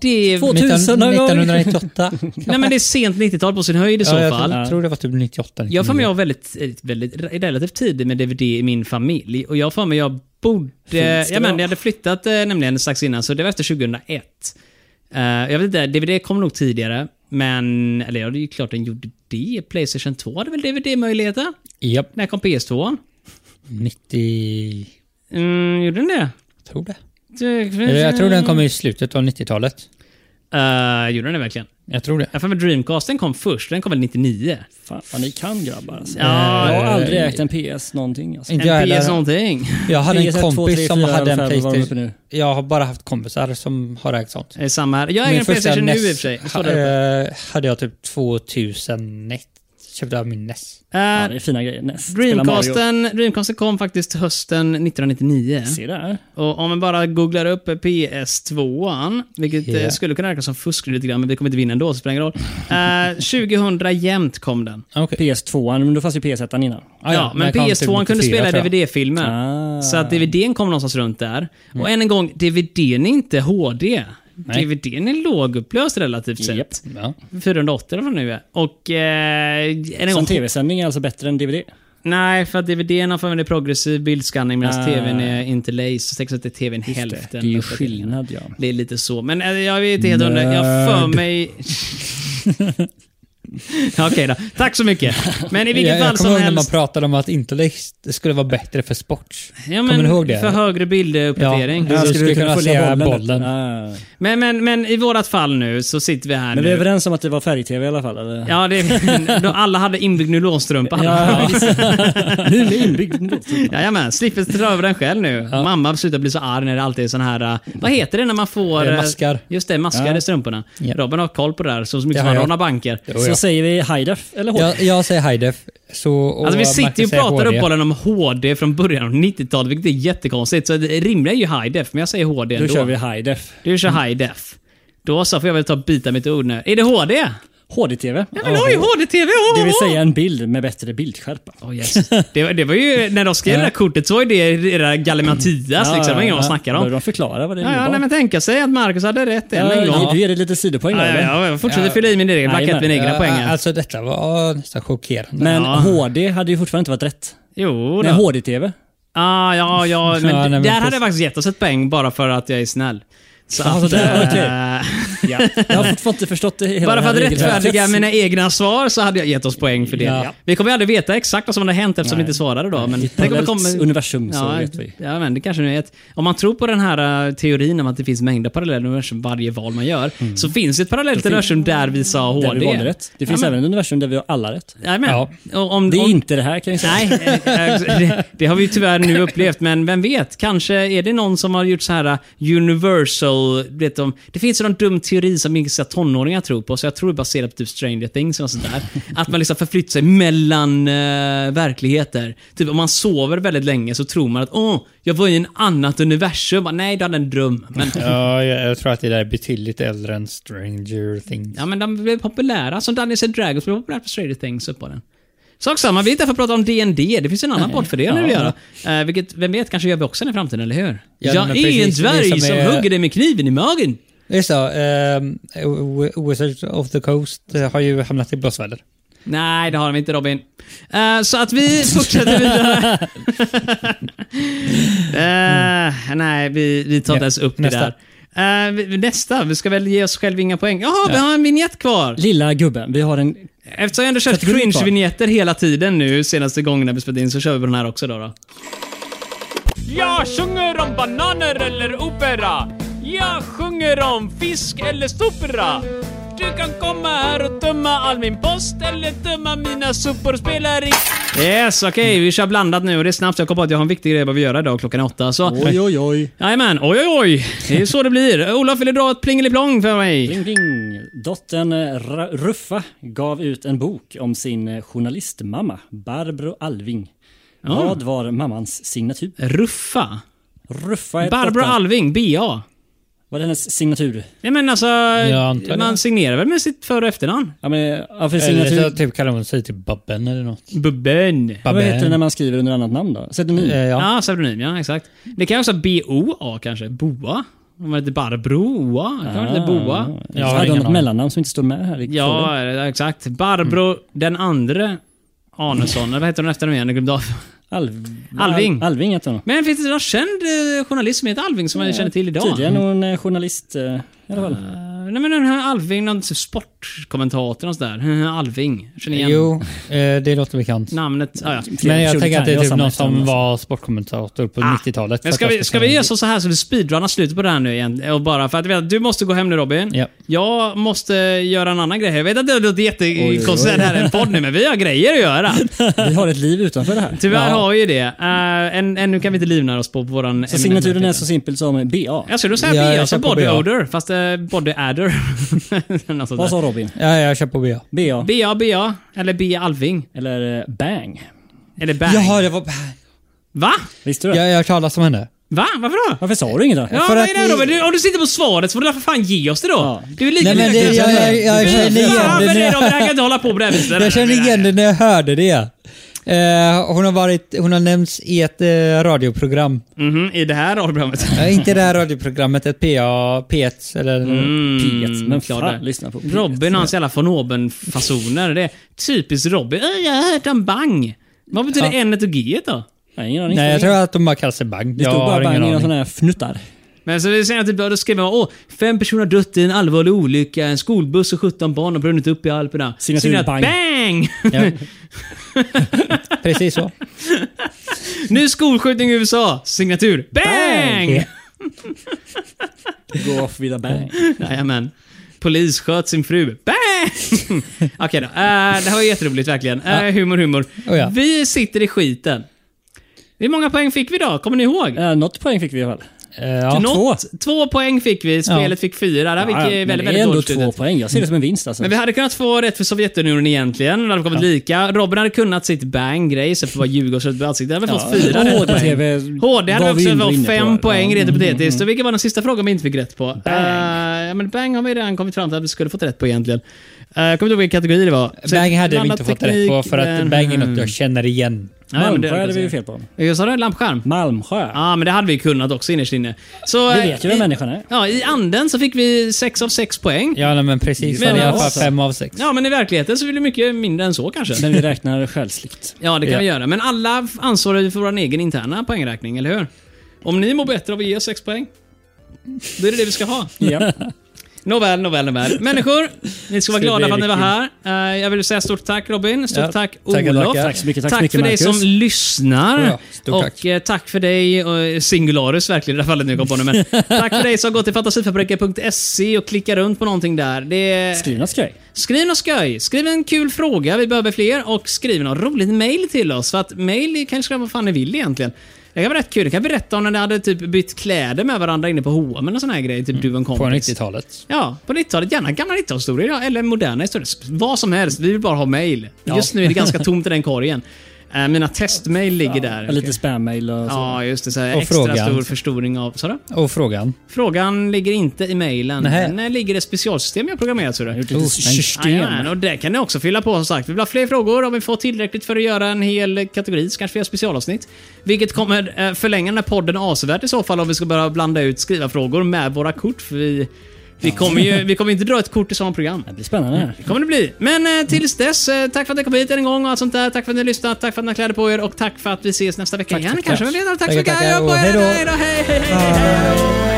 [SPEAKER 1] Det är,
[SPEAKER 2] 2000 någon gång.
[SPEAKER 4] 1998.
[SPEAKER 1] nej, men det är sent 90-tal på sin höjd i så
[SPEAKER 4] ja, jag
[SPEAKER 1] fall.
[SPEAKER 4] tror- tror det var typ 98.
[SPEAKER 1] Jag har för mig jag var väldigt, eh, väldigt, relativt tidig med DVD i min familj. Och jag har för mig jag borde...
[SPEAKER 2] Finns det
[SPEAKER 1] Jag, men,
[SPEAKER 2] då?
[SPEAKER 1] jag hade flyttat eh, nämligen strax innan, så det var efter 2001. Eh, jag vet inte, DVD kom nog tidigare. Men, eller ja, det är ju klart den gjorde det. Playstation 2 hade väl DVD-möjligheten?
[SPEAKER 4] Japp,
[SPEAKER 1] När kom PS2?
[SPEAKER 4] 90...
[SPEAKER 1] Mm, gjorde den det?
[SPEAKER 4] Tror det.
[SPEAKER 1] Du-
[SPEAKER 4] Eller Jag tror den kom i slutet av 90-talet.
[SPEAKER 1] Eh, gjorde den det verkligen?
[SPEAKER 4] Jag tror det.
[SPEAKER 1] Jag har för mig Dreamcast, den kom först. Den kom väl 99?
[SPEAKER 2] Fan vad ni kan grabbar alltså.
[SPEAKER 1] Ja,
[SPEAKER 2] Jag har
[SPEAKER 1] eh,
[SPEAKER 2] aldrig ägt en PS någonting alltså.
[SPEAKER 4] Inte jag
[SPEAKER 1] En PS
[SPEAKER 4] heller.
[SPEAKER 1] någonting.
[SPEAKER 4] Jag hade en
[SPEAKER 2] PS1,
[SPEAKER 4] kompis
[SPEAKER 2] 2, 3,
[SPEAKER 4] som
[SPEAKER 2] 4,
[SPEAKER 4] hade en
[SPEAKER 2] 5, vad var de uppe
[SPEAKER 4] Playstation.
[SPEAKER 2] nu?
[SPEAKER 4] Jag har bara haft kompisar som har ägt sånt.
[SPEAKER 1] Det är samma här. Jag äger en
[SPEAKER 4] första E
[SPEAKER 1] Playstation nu i och
[SPEAKER 4] NES
[SPEAKER 1] för sig. Står där uppe.
[SPEAKER 4] eh, hade jag typ 2001. Köpte jag min E NES.
[SPEAKER 2] Ja,
[SPEAKER 1] Eh,
[SPEAKER 2] det är fina grejer. Näst. Spela Mario.
[SPEAKER 1] Dreamcasten, Dreamcasten kom faktiskt hösten 1999.
[SPEAKER 2] Se där.
[SPEAKER 1] Och om man bara googlar upp PS2, vilket eh,
[SPEAKER 4] Yeah.
[SPEAKER 1] skulle kunna räknas som fusk lite grann, men vi kommer inte vinna ändå, så det spelar ingen roll. Eh, 2000 jämnt kom den.
[SPEAKER 4] Okej.
[SPEAKER 2] PS2, men då fanns ju PS1 innan.
[SPEAKER 4] Ah,
[SPEAKER 1] ja, men
[SPEAKER 4] den kom typ
[SPEAKER 1] PS2 kunde
[SPEAKER 4] 94,
[SPEAKER 1] spela
[SPEAKER 4] tror jag.
[SPEAKER 1] DVD-filmer.
[SPEAKER 2] Ah.
[SPEAKER 1] Så att DVDn kom någonstans runt där.
[SPEAKER 4] Mm.
[SPEAKER 1] Och än en gång, DVDn är inte HD. DVDn är lågupplöst relativt sett.
[SPEAKER 2] Japp.
[SPEAKER 4] Ja.
[SPEAKER 1] 480 eller vad det nu är. Och... Eh, än en
[SPEAKER 2] Som
[SPEAKER 1] gång,
[SPEAKER 2] tv-sändning är alltså bättre än DVD?
[SPEAKER 1] nej, för att DVDn använder progressiv bildskanning medan
[SPEAKER 2] Ah.
[SPEAKER 1] TVn är inte laser, så att det är TVn
[SPEAKER 2] det,
[SPEAKER 1] hälften.
[SPEAKER 2] är ju
[SPEAKER 1] av uppdateringen.
[SPEAKER 2] skillnad ja.
[SPEAKER 1] Det är lite så, men eh, jag vet inte helt hundra. Jag har för mig... Okej då. Tack så mycket. Men i vilket
[SPEAKER 4] Jag, jag
[SPEAKER 1] fall
[SPEAKER 4] kommer
[SPEAKER 1] som
[SPEAKER 4] ihåg när man
[SPEAKER 1] helst...
[SPEAKER 4] pratade om att Intellect skulle vara bättre för sport.
[SPEAKER 1] Ja,
[SPEAKER 4] kommer
[SPEAKER 1] men
[SPEAKER 4] du ihåg det?
[SPEAKER 1] För högre bilduppdatering.
[SPEAKER 4] Ja, det-
[SPEAKER 2] Du
[SPEAKER 4] skulle kunna se bollen.
[SPEAKER 2] Ah.
[SPEAKER 1] Men, men, men i vårat fall nu så sitter vi här
[SPEAKER 2] Men vi är
[SPEAKER 1] nu.
[SPEAKER 2] överens om att det var färg-tv i alla fall? Eller?
[SPEAKER 1] Ja, det, då alla hade inbyggd nylonstrumpa.
[SPEAKER 2] Ja, nu med inbyggd
[SPEAKER 1] Oh, Jajamän, slipper dra över den själv nu. Mamma slutar bli så arg när det alltid är sån här... eh, Vad heter det när man får...
[SPEAKER 4] Eh,
[SPEAKER 1] eh,
[SPEAKER 4] maskar.
[SPEAKER 1] Just det, maskar
[SPEAKER 2] Ja.
[SPEAKER 1] i strumporna.
[SPEAKER 4] Ja.
[SPEAKER 1] Robin har koll på det här så mycket
[SPEAKER 4] Det
[SPEAKER 1] som
[SPEAKER 4] har
[SPEAKER 1] han
[SPEAKER 4] jag.
[SPEAKER 1] rånar banker.
[SPEAKER 4] Jo,
[SPEAKER 2] Så
[SPEAKER 4] ja.
[SPEAKER 2] säger vi Haidef eller hårt?
[SPEAKER 4] jag, jag säger high def. Så, och
[SPEAKER 1] Alltså vi
[SPEAKER 4] Marcus
[SPEAKER 1] sitter ju och
[SPEAKER 4] säger
[SPEAKER 1] pratar
[SPEAKER 4] HD.
[SPEAKER 1] uppehållen om HD från början av 90-talet, vilket är jättekonstigt. Så det rimliga är ju high def, men jag säger HD
[SPEAKER 2] Då
[SPEAKER 1] ändå.
[SPEAKER 2] kör vi Haidef.
[SPEAKER 1] Du kör high def. Då så, får jag väl ta och bita mitt ord nu. Är det HD?
[SPEAKER 2] HD-tv.
[SPEAKER 1] Ja, men det har ju HD-TV!
[SPEAKER 2] Det vill säga en bild med bättre bildskärpa.
[SPEAKER 1] Oh, yes. det, var, det var ju, när de skrev det där kortet så var ju det era gallimatias liksom. Det var ingen vad de snackade om.
[SPEAKER 2] Behöver de förklara vad det
[SPEAKER 1] Ja, ja,
[SPEAKER 2] innebar?
[SPEAKER 1] nej, men tänka sig att Marcus hade rätt än en
[SPEAKER 2] Ja,
[SPEAKER 1] gång.
[SPEAKER 2] Du ger det lite sidopoäng
[SPEAKER 1] Ja,
[SPEAKER 2] där. eller?
[SPEAKER 1] ja, jag fortsätter fylla i min egen blankett med
[SPEAKER 2] Jajamän.
[SPEAKER 1] egna
[SPEAKER 4] Ja,
[SPEAKER 1] poäng. här.
[SPEAKER 4] Alltså detta var nästan chockerande.
[SPEAKER 2] Men
[SPEAKER 1] Ja.
[SPEAKER 2] HD hade ju fortfarande inte varit rätt.
[SPEAKER 1] Jo,
[SPEAKER 2] Men
[SPEAKER 1] då.
[SPEAKER 2] HD-tv?
[SPEAKER 1] Ah, ja, ja, men
[SPEAKER 4] Ja, nej, men
[SPEAKER 1] där hade
[SPEAKER 4] precis.
[SPEAKER 1] jag faktiskt gett oss ett poäng bara för att jag är snäll. Så
[SPEAKER 2] Ja, så där,
[SPEAKER 1] eh,
[SPEAKER 2] Ja. Jag har fortfarande inte förstått det hela
[SPEAKER 1] Bara för att
[SPEAKER 2] det här
[SPEAKER 1] rättfärdiga
[SPEAKER 2] regelverket.
[SPEAKER 1] mina egna svar så hade jag gett oss poäng för det.
[SPEAKER 2] Ja.
[SPEAKER 1] Vi kommer ju aldrig veta exakt vad som hade hänt eftersom vi inte svarade då. Men tänk om det
[SPEAKER 2] Parallellt
[SPEAKER 1] kommer...
[SPEAKER 2] universum så
[SPEAKER 1] Ja,
[SPEAKER 2] vet vi.
[SPEAKER 1] ja, men det kanske nu är ett... Om man tror på den här eh, teorin om att det finns mängder parallella universum varje val man gör, så finns det ett parallellt universum där vi sa HD.
[SPEAKER 2] Mm. Där vi valde rätt. Det finns
[SPEAKER 1] ja, men,
[SPEAKER 2] även ett universum där vi har alla rätt.
[SPEAKER 1] Jajamän. Och om,
[SPEAKER 2] Det är
[SPEAKER 1] om,
[SPEAKER 2] inte det här kan jag säga.
[SPEAKER 1] Nej, eh, eh, det, det har vi ju tyvärr nu upplevt, men vem vet? Kanske är det någon som har gjort så här eh, universal... Vet de, det finns ju någon dum teori som vissa tonåringar tror på, så jag tror det är baserat på typ Stranger Things eller sånt där. Att man liksom förflyttar sig mellan eh, verkligheter. Typ om man sover väldigt länge så tror man att åh, jag var i en annat universum. Bara, Nej, du hade en dröm. Men,
[SPEAKER 4] Ja, jag, jag tror att det där är betydligt äldre än Stranger Things.
[SPEAKER 1] ja, men de blev populära. Som Dungeons and Dragons blev populärt för Stranger Things uppehållen. Sak samma, vi är inte här för att prata om D&D. Det finns en annan podd för det när vi gör. Eh, vilket, vem vet, kanske gör vi också den i framtiden, eller hur? jag
[SPEAKER 4] Ja,
[SPEAKER 1] är
[SPEAKER 4] men precis,
[SPEAKER 1] en dvärg
[SPEAKER 4] ni
[SPEAKER 1] som,
[SPEAKER 4] som är-
[SPEAKER 1] hugger dig med kniven i magen.
[SPEAKER 4] Just det, um, Wizards of the Coast eh, har ju hamnat i blåsväder.
[SPEAKER 1] Nej, det har de inte Robin. Eh, så att vi fortsätter vidare. Eh, Nej, vi, vi tar inte
[SPEAKER 4] Ja,
[SPEAKER 1] ens upp
[SPEAKER 4] nästa.
[SPEAKER 1] det där. Eh, vi- nästa, vi ska väl ge oss själva inga poäng. Jaha, vi har en vignett kvar.
[SPEAKER 2] Lilla gubben, vi har en...
[SPEAKER 1] Eftersom jag ändå kört
[SPEAKER 2] Kategori kvar.
[SPEAKER 1] cringe-vignetter hela tiden nu senaste gången när vi spelade in så kör vi på den här också då. då.
[SPEAKER 7] Jag sjunger om bananer eller opera. Jag sjunger om fisk eller sopra. Du kan komma här och tömma all min post eller tömma mina sopor. Spelar i...
[SPEAKER 1] Yes, okej, vi kör blandat nu och det är snabbt. Jag kom på att jag har en viktig grej jag behöver göra idag klockan är åtta. Så...
[SPEAKER 2] Oj, oj, oj.
[SPEAKER 1] Jajamän, oj oj oj. Det är så det blir. Olof, vill du dra ett plingeliplong för mig?
[SPEAKER 2] Bling, bling. Dottern eh, Ra- Ruffa gav ut en bok om sin eh, journalistmamma, Barbro Alving.
[SPEAKER 4] Ah.
[SPEAKER 2] Vad var mammans signatur?
[SPEAKER 1] Ruffa.
[SPEAKER 2] Ruffa är ett
[SPEAKER 1] Barbro
[SPEAKER 2] dottern.
[SPEAKER 1] Alving, BA.
[SPEAKER 2] Vad är hennes signatur?
[SPEAKER 1] Nej men alltså,
[SPEAKER 4] antar det.
[SPEAKER 1] man signerar väl med sitt för och efternamn?
[SPEAKER 2] Ja, men, ja, för
[SPEAKER 4] Eller så
[SPEAKER 2] signatur.
[SPEAKER 4] typ kallar hon sig typ Babben eller något.
[SPEAKER 1] Bubben.
[SPEAKER 2] Vad heter det när
[SPEAKER 4] man...
[SPEAKER 2] man skriver under annat namn då? Pseudonym?
[SPEAKER 1] Mm.
[SPEAKER 4] Eh, ja.
[SPEAKER 1] Ja, pseudonym ja, exakt. Det kan också vara BOA kanske. Boa. Om man heter Barbro, OA. Kan man
[SPEAKER 2] Ah.
[SPEAKER 4] Ah,
[SPEAKER 1] heta Boa?
[SPEAKER 2] Jag
[SPEAKER 4] har
[SPEAKER 2] hade
[SPEAKER 4] ingen
[SPEAKER 2] hon ett
[SPEAKER 4] aning.
[SPEAKER 2] mellannamn som inte står med här i frågan?
[SPEAKER 1] Ja, eh, exakt. Barbro den andre Arnesson, eller vad heter hon efter igen? Jag glömde av.
[SPEAKER 2] Alv...
[SPEAKER 1] Alving.
[SPEAKER 2] Alving heter hon.
[SPEAKER 1] Men finns det någon känd eh, journalist som heter Alving som man känner till idag?
[SPEAKER 2] Tydligen hon är journalist eh, i alla fall.
[SPEAKER 1] Eh, Nej men den här Alving, någon typ sport... sportkommentatorn och sådär. Alving. Känner igen
[SPEAKER 4] Jo, eh, det låter bekant.
[SPEAKER 1] namnet. Ah, ja.
[SPEAKER 4] Men jag
[SPEAKER 2] Otroligt
[SPEAKER 4] tänker att det
[SPEAKER 2] kan-
[SPEAKER 4] är
[SPEAKER 2] jag
[SPEAKER 4] typ
[SPEAKER 2] har
[SPEAKER 4] någon
[SPEAKER 2] samma
[SPEAKER 4] som
[SPEAKER 2] efternamn.
[SPEAKER 4] var sportkommentator på 90-talet.
[SPEAKER 1] Ah, Men ska vi, ska vi göra så så här så vi speedrunnar slutet på det här nu igen? Och bara för att vet, du måste gå hem nu Robin.
[SPEAKER 4] Ja.
[SPEAKER 1] Jag måste göra en annan grej. Jag vet att det låter jättekonstigt att det här är en podd nu, men vi har grejer att göra.
[SPEAKER 2] Vi har ett liv utanför det här.
[SPEAKER 1] Tyvärr har vi ju det. Uh, än, ännu kan vi inte livnära oss på våran...
[SPEAKER 2] Så signaturen är så simpel som BA.
[SPEAKER 1] Jag skulle säga
[SPEAKER 4] Ja,
[SPEAKER 1] BA
[SPEAKER 4] jag
[SPEAKER 1] som
[SPEAKER 4] kör på
[SPEAKER 1] body
[SPEAKER 4] BA.
[SPEAKER 1] odor, fast eh, body adder. Något sånt
[SPEAKER 2] Vad
[SPEAKER 1] där.
[SPEAKER 2] sa Robin?
[SPEAKER 4] Ja, jag kör på BA.
[SPEAKER 2] BA.
[SPEAKER 1] BA, BA. Eller BA Alving.
[SPEAKER 2] Eller eh, bang.
[SPEAKER 1] Eller Bang.
[SPEAKER 4] Jaha, det var...
[SPEAKER 1] Va?
[SPEAKER 2] Visste du det?
[SPEAKER 4] Jag, jag hörde som hände.
[SPEAKER 1] Va? Varför då?
[SPEAKER 2] Varför sa du inget då?
[SPEAKER 1] Ja,
[SPEAKER 4] För
[SPEAKER 1] vad
[SPEAKER 4] att
[SPEAKER 1] är det
[SPEAKER 4] vi-
[SPEAKER 1] då? Men du- Om du sitter på svaret så får du därför fan ge oss det då.
[SPEAKER 2] Ja.
[SPEAKER 1] Du är lika
[SPEAKER 4] Nej, men det, jag,
[SPEAKER 1] lökig
[SPEAKER 4] jag,
[SPEAKER 1] som
[SPEAKER 4] jag, jag känner igen
[SPEAKER 1] Fan
[SPEAKER 4] det
[SPEAKER 1] vad
[SPEAKER 4] när
[SPEAKER 1] är det då? Vi kan
[SPEAKER 4] jag,
[SPEAKER 1] inte hålla på på det här viset.
[SPEAKER 4] jag känner igen det när jag hörde det. Eh, hon, har varit, hon har nämnts i ett eh, radioprogram.
[SPEAKER 1] Mhm, I det här radioprogrammet.
[SPEAKER 4] Eh, inte det här radioprogrammet, ett PA, P1 eller...
[SPEAKER 1] Mm.
[SPEAKER 2] P1. Men
[SPEAKER 1] klar där.
[SPEAKER 2] fan, lyssna på P1.
[SPEAKER 1] Robin och hans jävla von oben-fasoner. Det är typiskt Robin. Äh, jag har hört om bang. Vad betyder n och g då?
[SPEAKER 2] Nej, ingen aning.
[SPEAKER 4] Nej, jag tror att de bara kallar sig Bang.
[SPEAKER 2] Det
[SPEAKER 4] Jag
[SPEAKER 2] stod
[SPEAKER 4] har
[SPEAKER 2] bara
[SPEAKER 4] ingen
[SPEAKER 2] bang i någon sån
[SPEAKER 4] aning.
[SPEAKER 2] här fnuttar.
[SPEAKER 1] Men så vi säger att då skriver man åh, fem personer har dött i en allvarlig olycka, en skolbuss och 17 barn har brunnit upp i Alperna.
[SPEAKER 2] Signatur bang.
[SPEAKER 1] bang!
[SPEAKER 4] Precis så.
[SPEAKER 1] nu skolskjutning i USA. Signatur bang!
[SPEAKER 4] Ja.
[SPEAKER 2] Go off with a bang.
[SPEAKER 1] Jajamän. Polis sköt sin fru. Bang! Okej då. Eh, det här var jätteroligt verkligen. Eh, humor, humor.
[SPEAKER 4] Oh ja.
[SPEAKER 1] Vi sitter i skiten. Hur många poäng fick vi idag? Kommer ni ihåg?
[SPEAKER 2] Eh, Något poäng fick vi i alla fall.
[SPEAKER 4] Eh,
[SPEAKER 2] Typ-
[SPEAKER 4] ja.
[SPEAKER 1] Något, två. poäng fick vi. Spelet fick fyra. Det här fick eh,
[SPEAKER 2] Ja,
[SPEAKER 1] väldigt,
[SPEAKER 2] men det är
[SPEAKER 1] väldigt
[SPEAKER 2] ändå
[SPEAKER 1] dåligt
[SPEAKER 2] två
[SPEAKER 1] slutet.
[SPEAKER 2] poäng. Jag ser det som en vinst alltså.
[SPEAKER 1] Men vi hade kunnat få rätt för Sovjetunionen egentligen. Det hade kommit lika. Robin hade kunnat sitt bang-grej istället för att bara ljuga och slå ut på ansiktet. Det hade vi fått fyra rätt poäng.
[SPEAKER 2] HDTV
[SPEAKER 1] HD hade
[SPEAKER 2] var vi
[SPEAKER 1] vi också
[SPEAKER 2] inte
[SPEAKER 1] var
[SPEAKER 2] inne på.
[SPEAKER 1] fem
[SPEAKER 2] Ja.
[SPEAKER 1] poäng rent
[SPEAKER 4] Mm.
[SPEAKER 1] hypotetiskt. Och vilket var den sista frågan vi inte fick rätt på? Bang. men bang har vi redan kommit fram till att vi skulle fått rätt på egentligen. Uh, kommer inte ihåg vilken kategori det var.
[SPEAKER 2] typ
[SPEAKER 1] Så
[SPEAKER 4] Bang hade vi
[SPEAKER 1] blandad
[SPEAKER 4] inte fått rätt
[SPEAKER 1] teknik,
[SPEAKER 4] på för att
[SPEAKER 1] men-
[SPEAKER 4] Bang är något jag känner igen.
[SPEAKER 1] Ja, men det
[SPEAKER 2] Malmsjö hade vi ju
[SPEAKER 1] fel.
[SPEAKER 2] fel på.
[SPEAKER 1] Sa du lampskärm?
[SPEAKER 2] Malmsjö.
[SPEAKER 1] Ja, men det hade vi kunnat också innerst inne. Så,
[SPEAKER 2] Vi
[SPEAKER 1] eh,
[SPEAKER 2] vet ju vem
[SPEAKER 1] i-
[SPEAKER 2] människan är.
[SPEAKER 1] Ja, i anden så fick vi 6 av 6 poäng. Ja.
[SPEAKER 4] Ja, nej, men precis.
[SPEAKER 1] Men
[SPEAKER 4] Men, I alla
[SPEAKER 1] också-
[SPEAKER 4] fall fem av sex.
[SPEAKER 1] men i verkligheten så blir det mycket mindre än så kanske.
[SPEAKER 2] Men vi räknar själsligt.
[SPEAKER 1] Ja, det kan
[SPEAKER 4] Ja.
[SPEAKER 1] vi göra. Men alla f- ansvarar ju för vår egen interna poängräkning, eller hur? Om ni mår bättre av att ge oss 6 poäng, då är det det vi ska ha.
[SPEAKER 2] Ja.
[SPEAKER 1] Nåväl, nåväl, nåväl. Människor, ni ska vara
[SPEAKER 4] bli
[SPEAKER 1] glada för att ni var
[SPEAKER 4] riktigt-
[SPEAKER 1] här. Eh, jag vill säga stort tack Robin, stort
[SPEAKER 4] Ja,
[SPEAKER 1] tack
[SPEAKER 4] tackar,
[SPEAKER 1] Olof.
[SPEAKER 4] tackar.
[SPEAKER 2] Tack så mycket, tack så
[SPEAKER 1] Tack
[SPEAKER 2] mycket,
[SPEAKER 1] för dig
[SPEAKER 2] Marcus.
[SPEAKER 1] som lyssnar.
[SPEAKER 4] Ja, stort
[SPEAKER 1] och
[SPEAKER 4] tack.
[SPEAKER 1] eh, tack för dig, eh, Singularus verkligen i det här fallet nu kom på nu, men Tack för dig som har gått till fantasifabriken.se och klickat runt på någonting där. Det,
[SPEAKER 2] Skriv något skoj.
[SPEAKER 1] Skriv något skoj. Skriv en kul fråga, vi behöver fler. Och skriv något roligt mail till oss. För att mail kan ju skriva vad fan ni vill egentligen. Det kan vara rätt kul. Du kan berätta om när ni hade typ bytt kläder med varandra inne på H&M och sån här grejer. Typ du och en kompis.
[SPEAKER 4] På 90-talet.
[SPEAKER 1] Ja, på 90-talet. Gärna gamla 90-talshistorier ja, eller moderna historier. Sp- Vad som helst. Vi vill bara ha mail. Just nu är det ganska tomt i den korgen. Eh, mina testmail ligger där.
[SPEAKER 2] Lite spam-mail och så.
[SPEAKER 1] Ja, just det. Så här,
[SPEAKER 4] Och
[SPEAKER 1] extra
[SPEAKER 4] frågan.
[SPEAKER 1] stor förstoring av... Sa du?
[SPEAKER 4] Och frågan.
[SPEAKER 1] Frågan ligger inte i mailen.
[SPEAKER 4] Nähä.
[SPEAKER 1] Den eh, ligger i ett specialsystem jag programmerat. Så
[SPEAKER 2] Jag har
[SPEAKER 1] du.
[SPEAKER 2] gjort lite
[SPEAKER 4] Oh,
[SPEAKER 2] system.
[SPEAKER 1] Jajamän, och det kan ni också fylla på som sagt. Vi vill ha fler frågor om vi får tillräckligt för att göra en hel kategori, så kanske vi gör specialavsnitt. Vilket kommer eh, förlänga den här podden avsevärt i så fall om vi ska börja blanda ut skrivarfrågor med våra kort. För vi, vi kommer ju vi kommer inte dra ett kort i samma program.
[SPEAKER 2] Det blir spännande här.
[SPEAKER 1] kommer det bli. Men eh, tills dess, eh, tack för att ni kom hit än en gång och allt sånt där. Tack för att ni har lyssnat, tack för att ni har kläder på er och tack för att vi ses nästa vecka igen
[SPEAKER 2] tack,
[SPEAKER 1] kanske.
[SPEAKER 2] tack.
[SPEAKER 1] Men redan, tack så
[SPEAKER 4] Tackar,
[SPEAKER 1] mycket.
[SPEAKER 4] tackar
[SPEAKER 1] Hej då på
[SPEAKER 4] och
[SPEAKER 1] er. Hej
[SPEAKER 4] hej då.
[SPEAKER 1] då. Hej, hej, hej, hej, hej.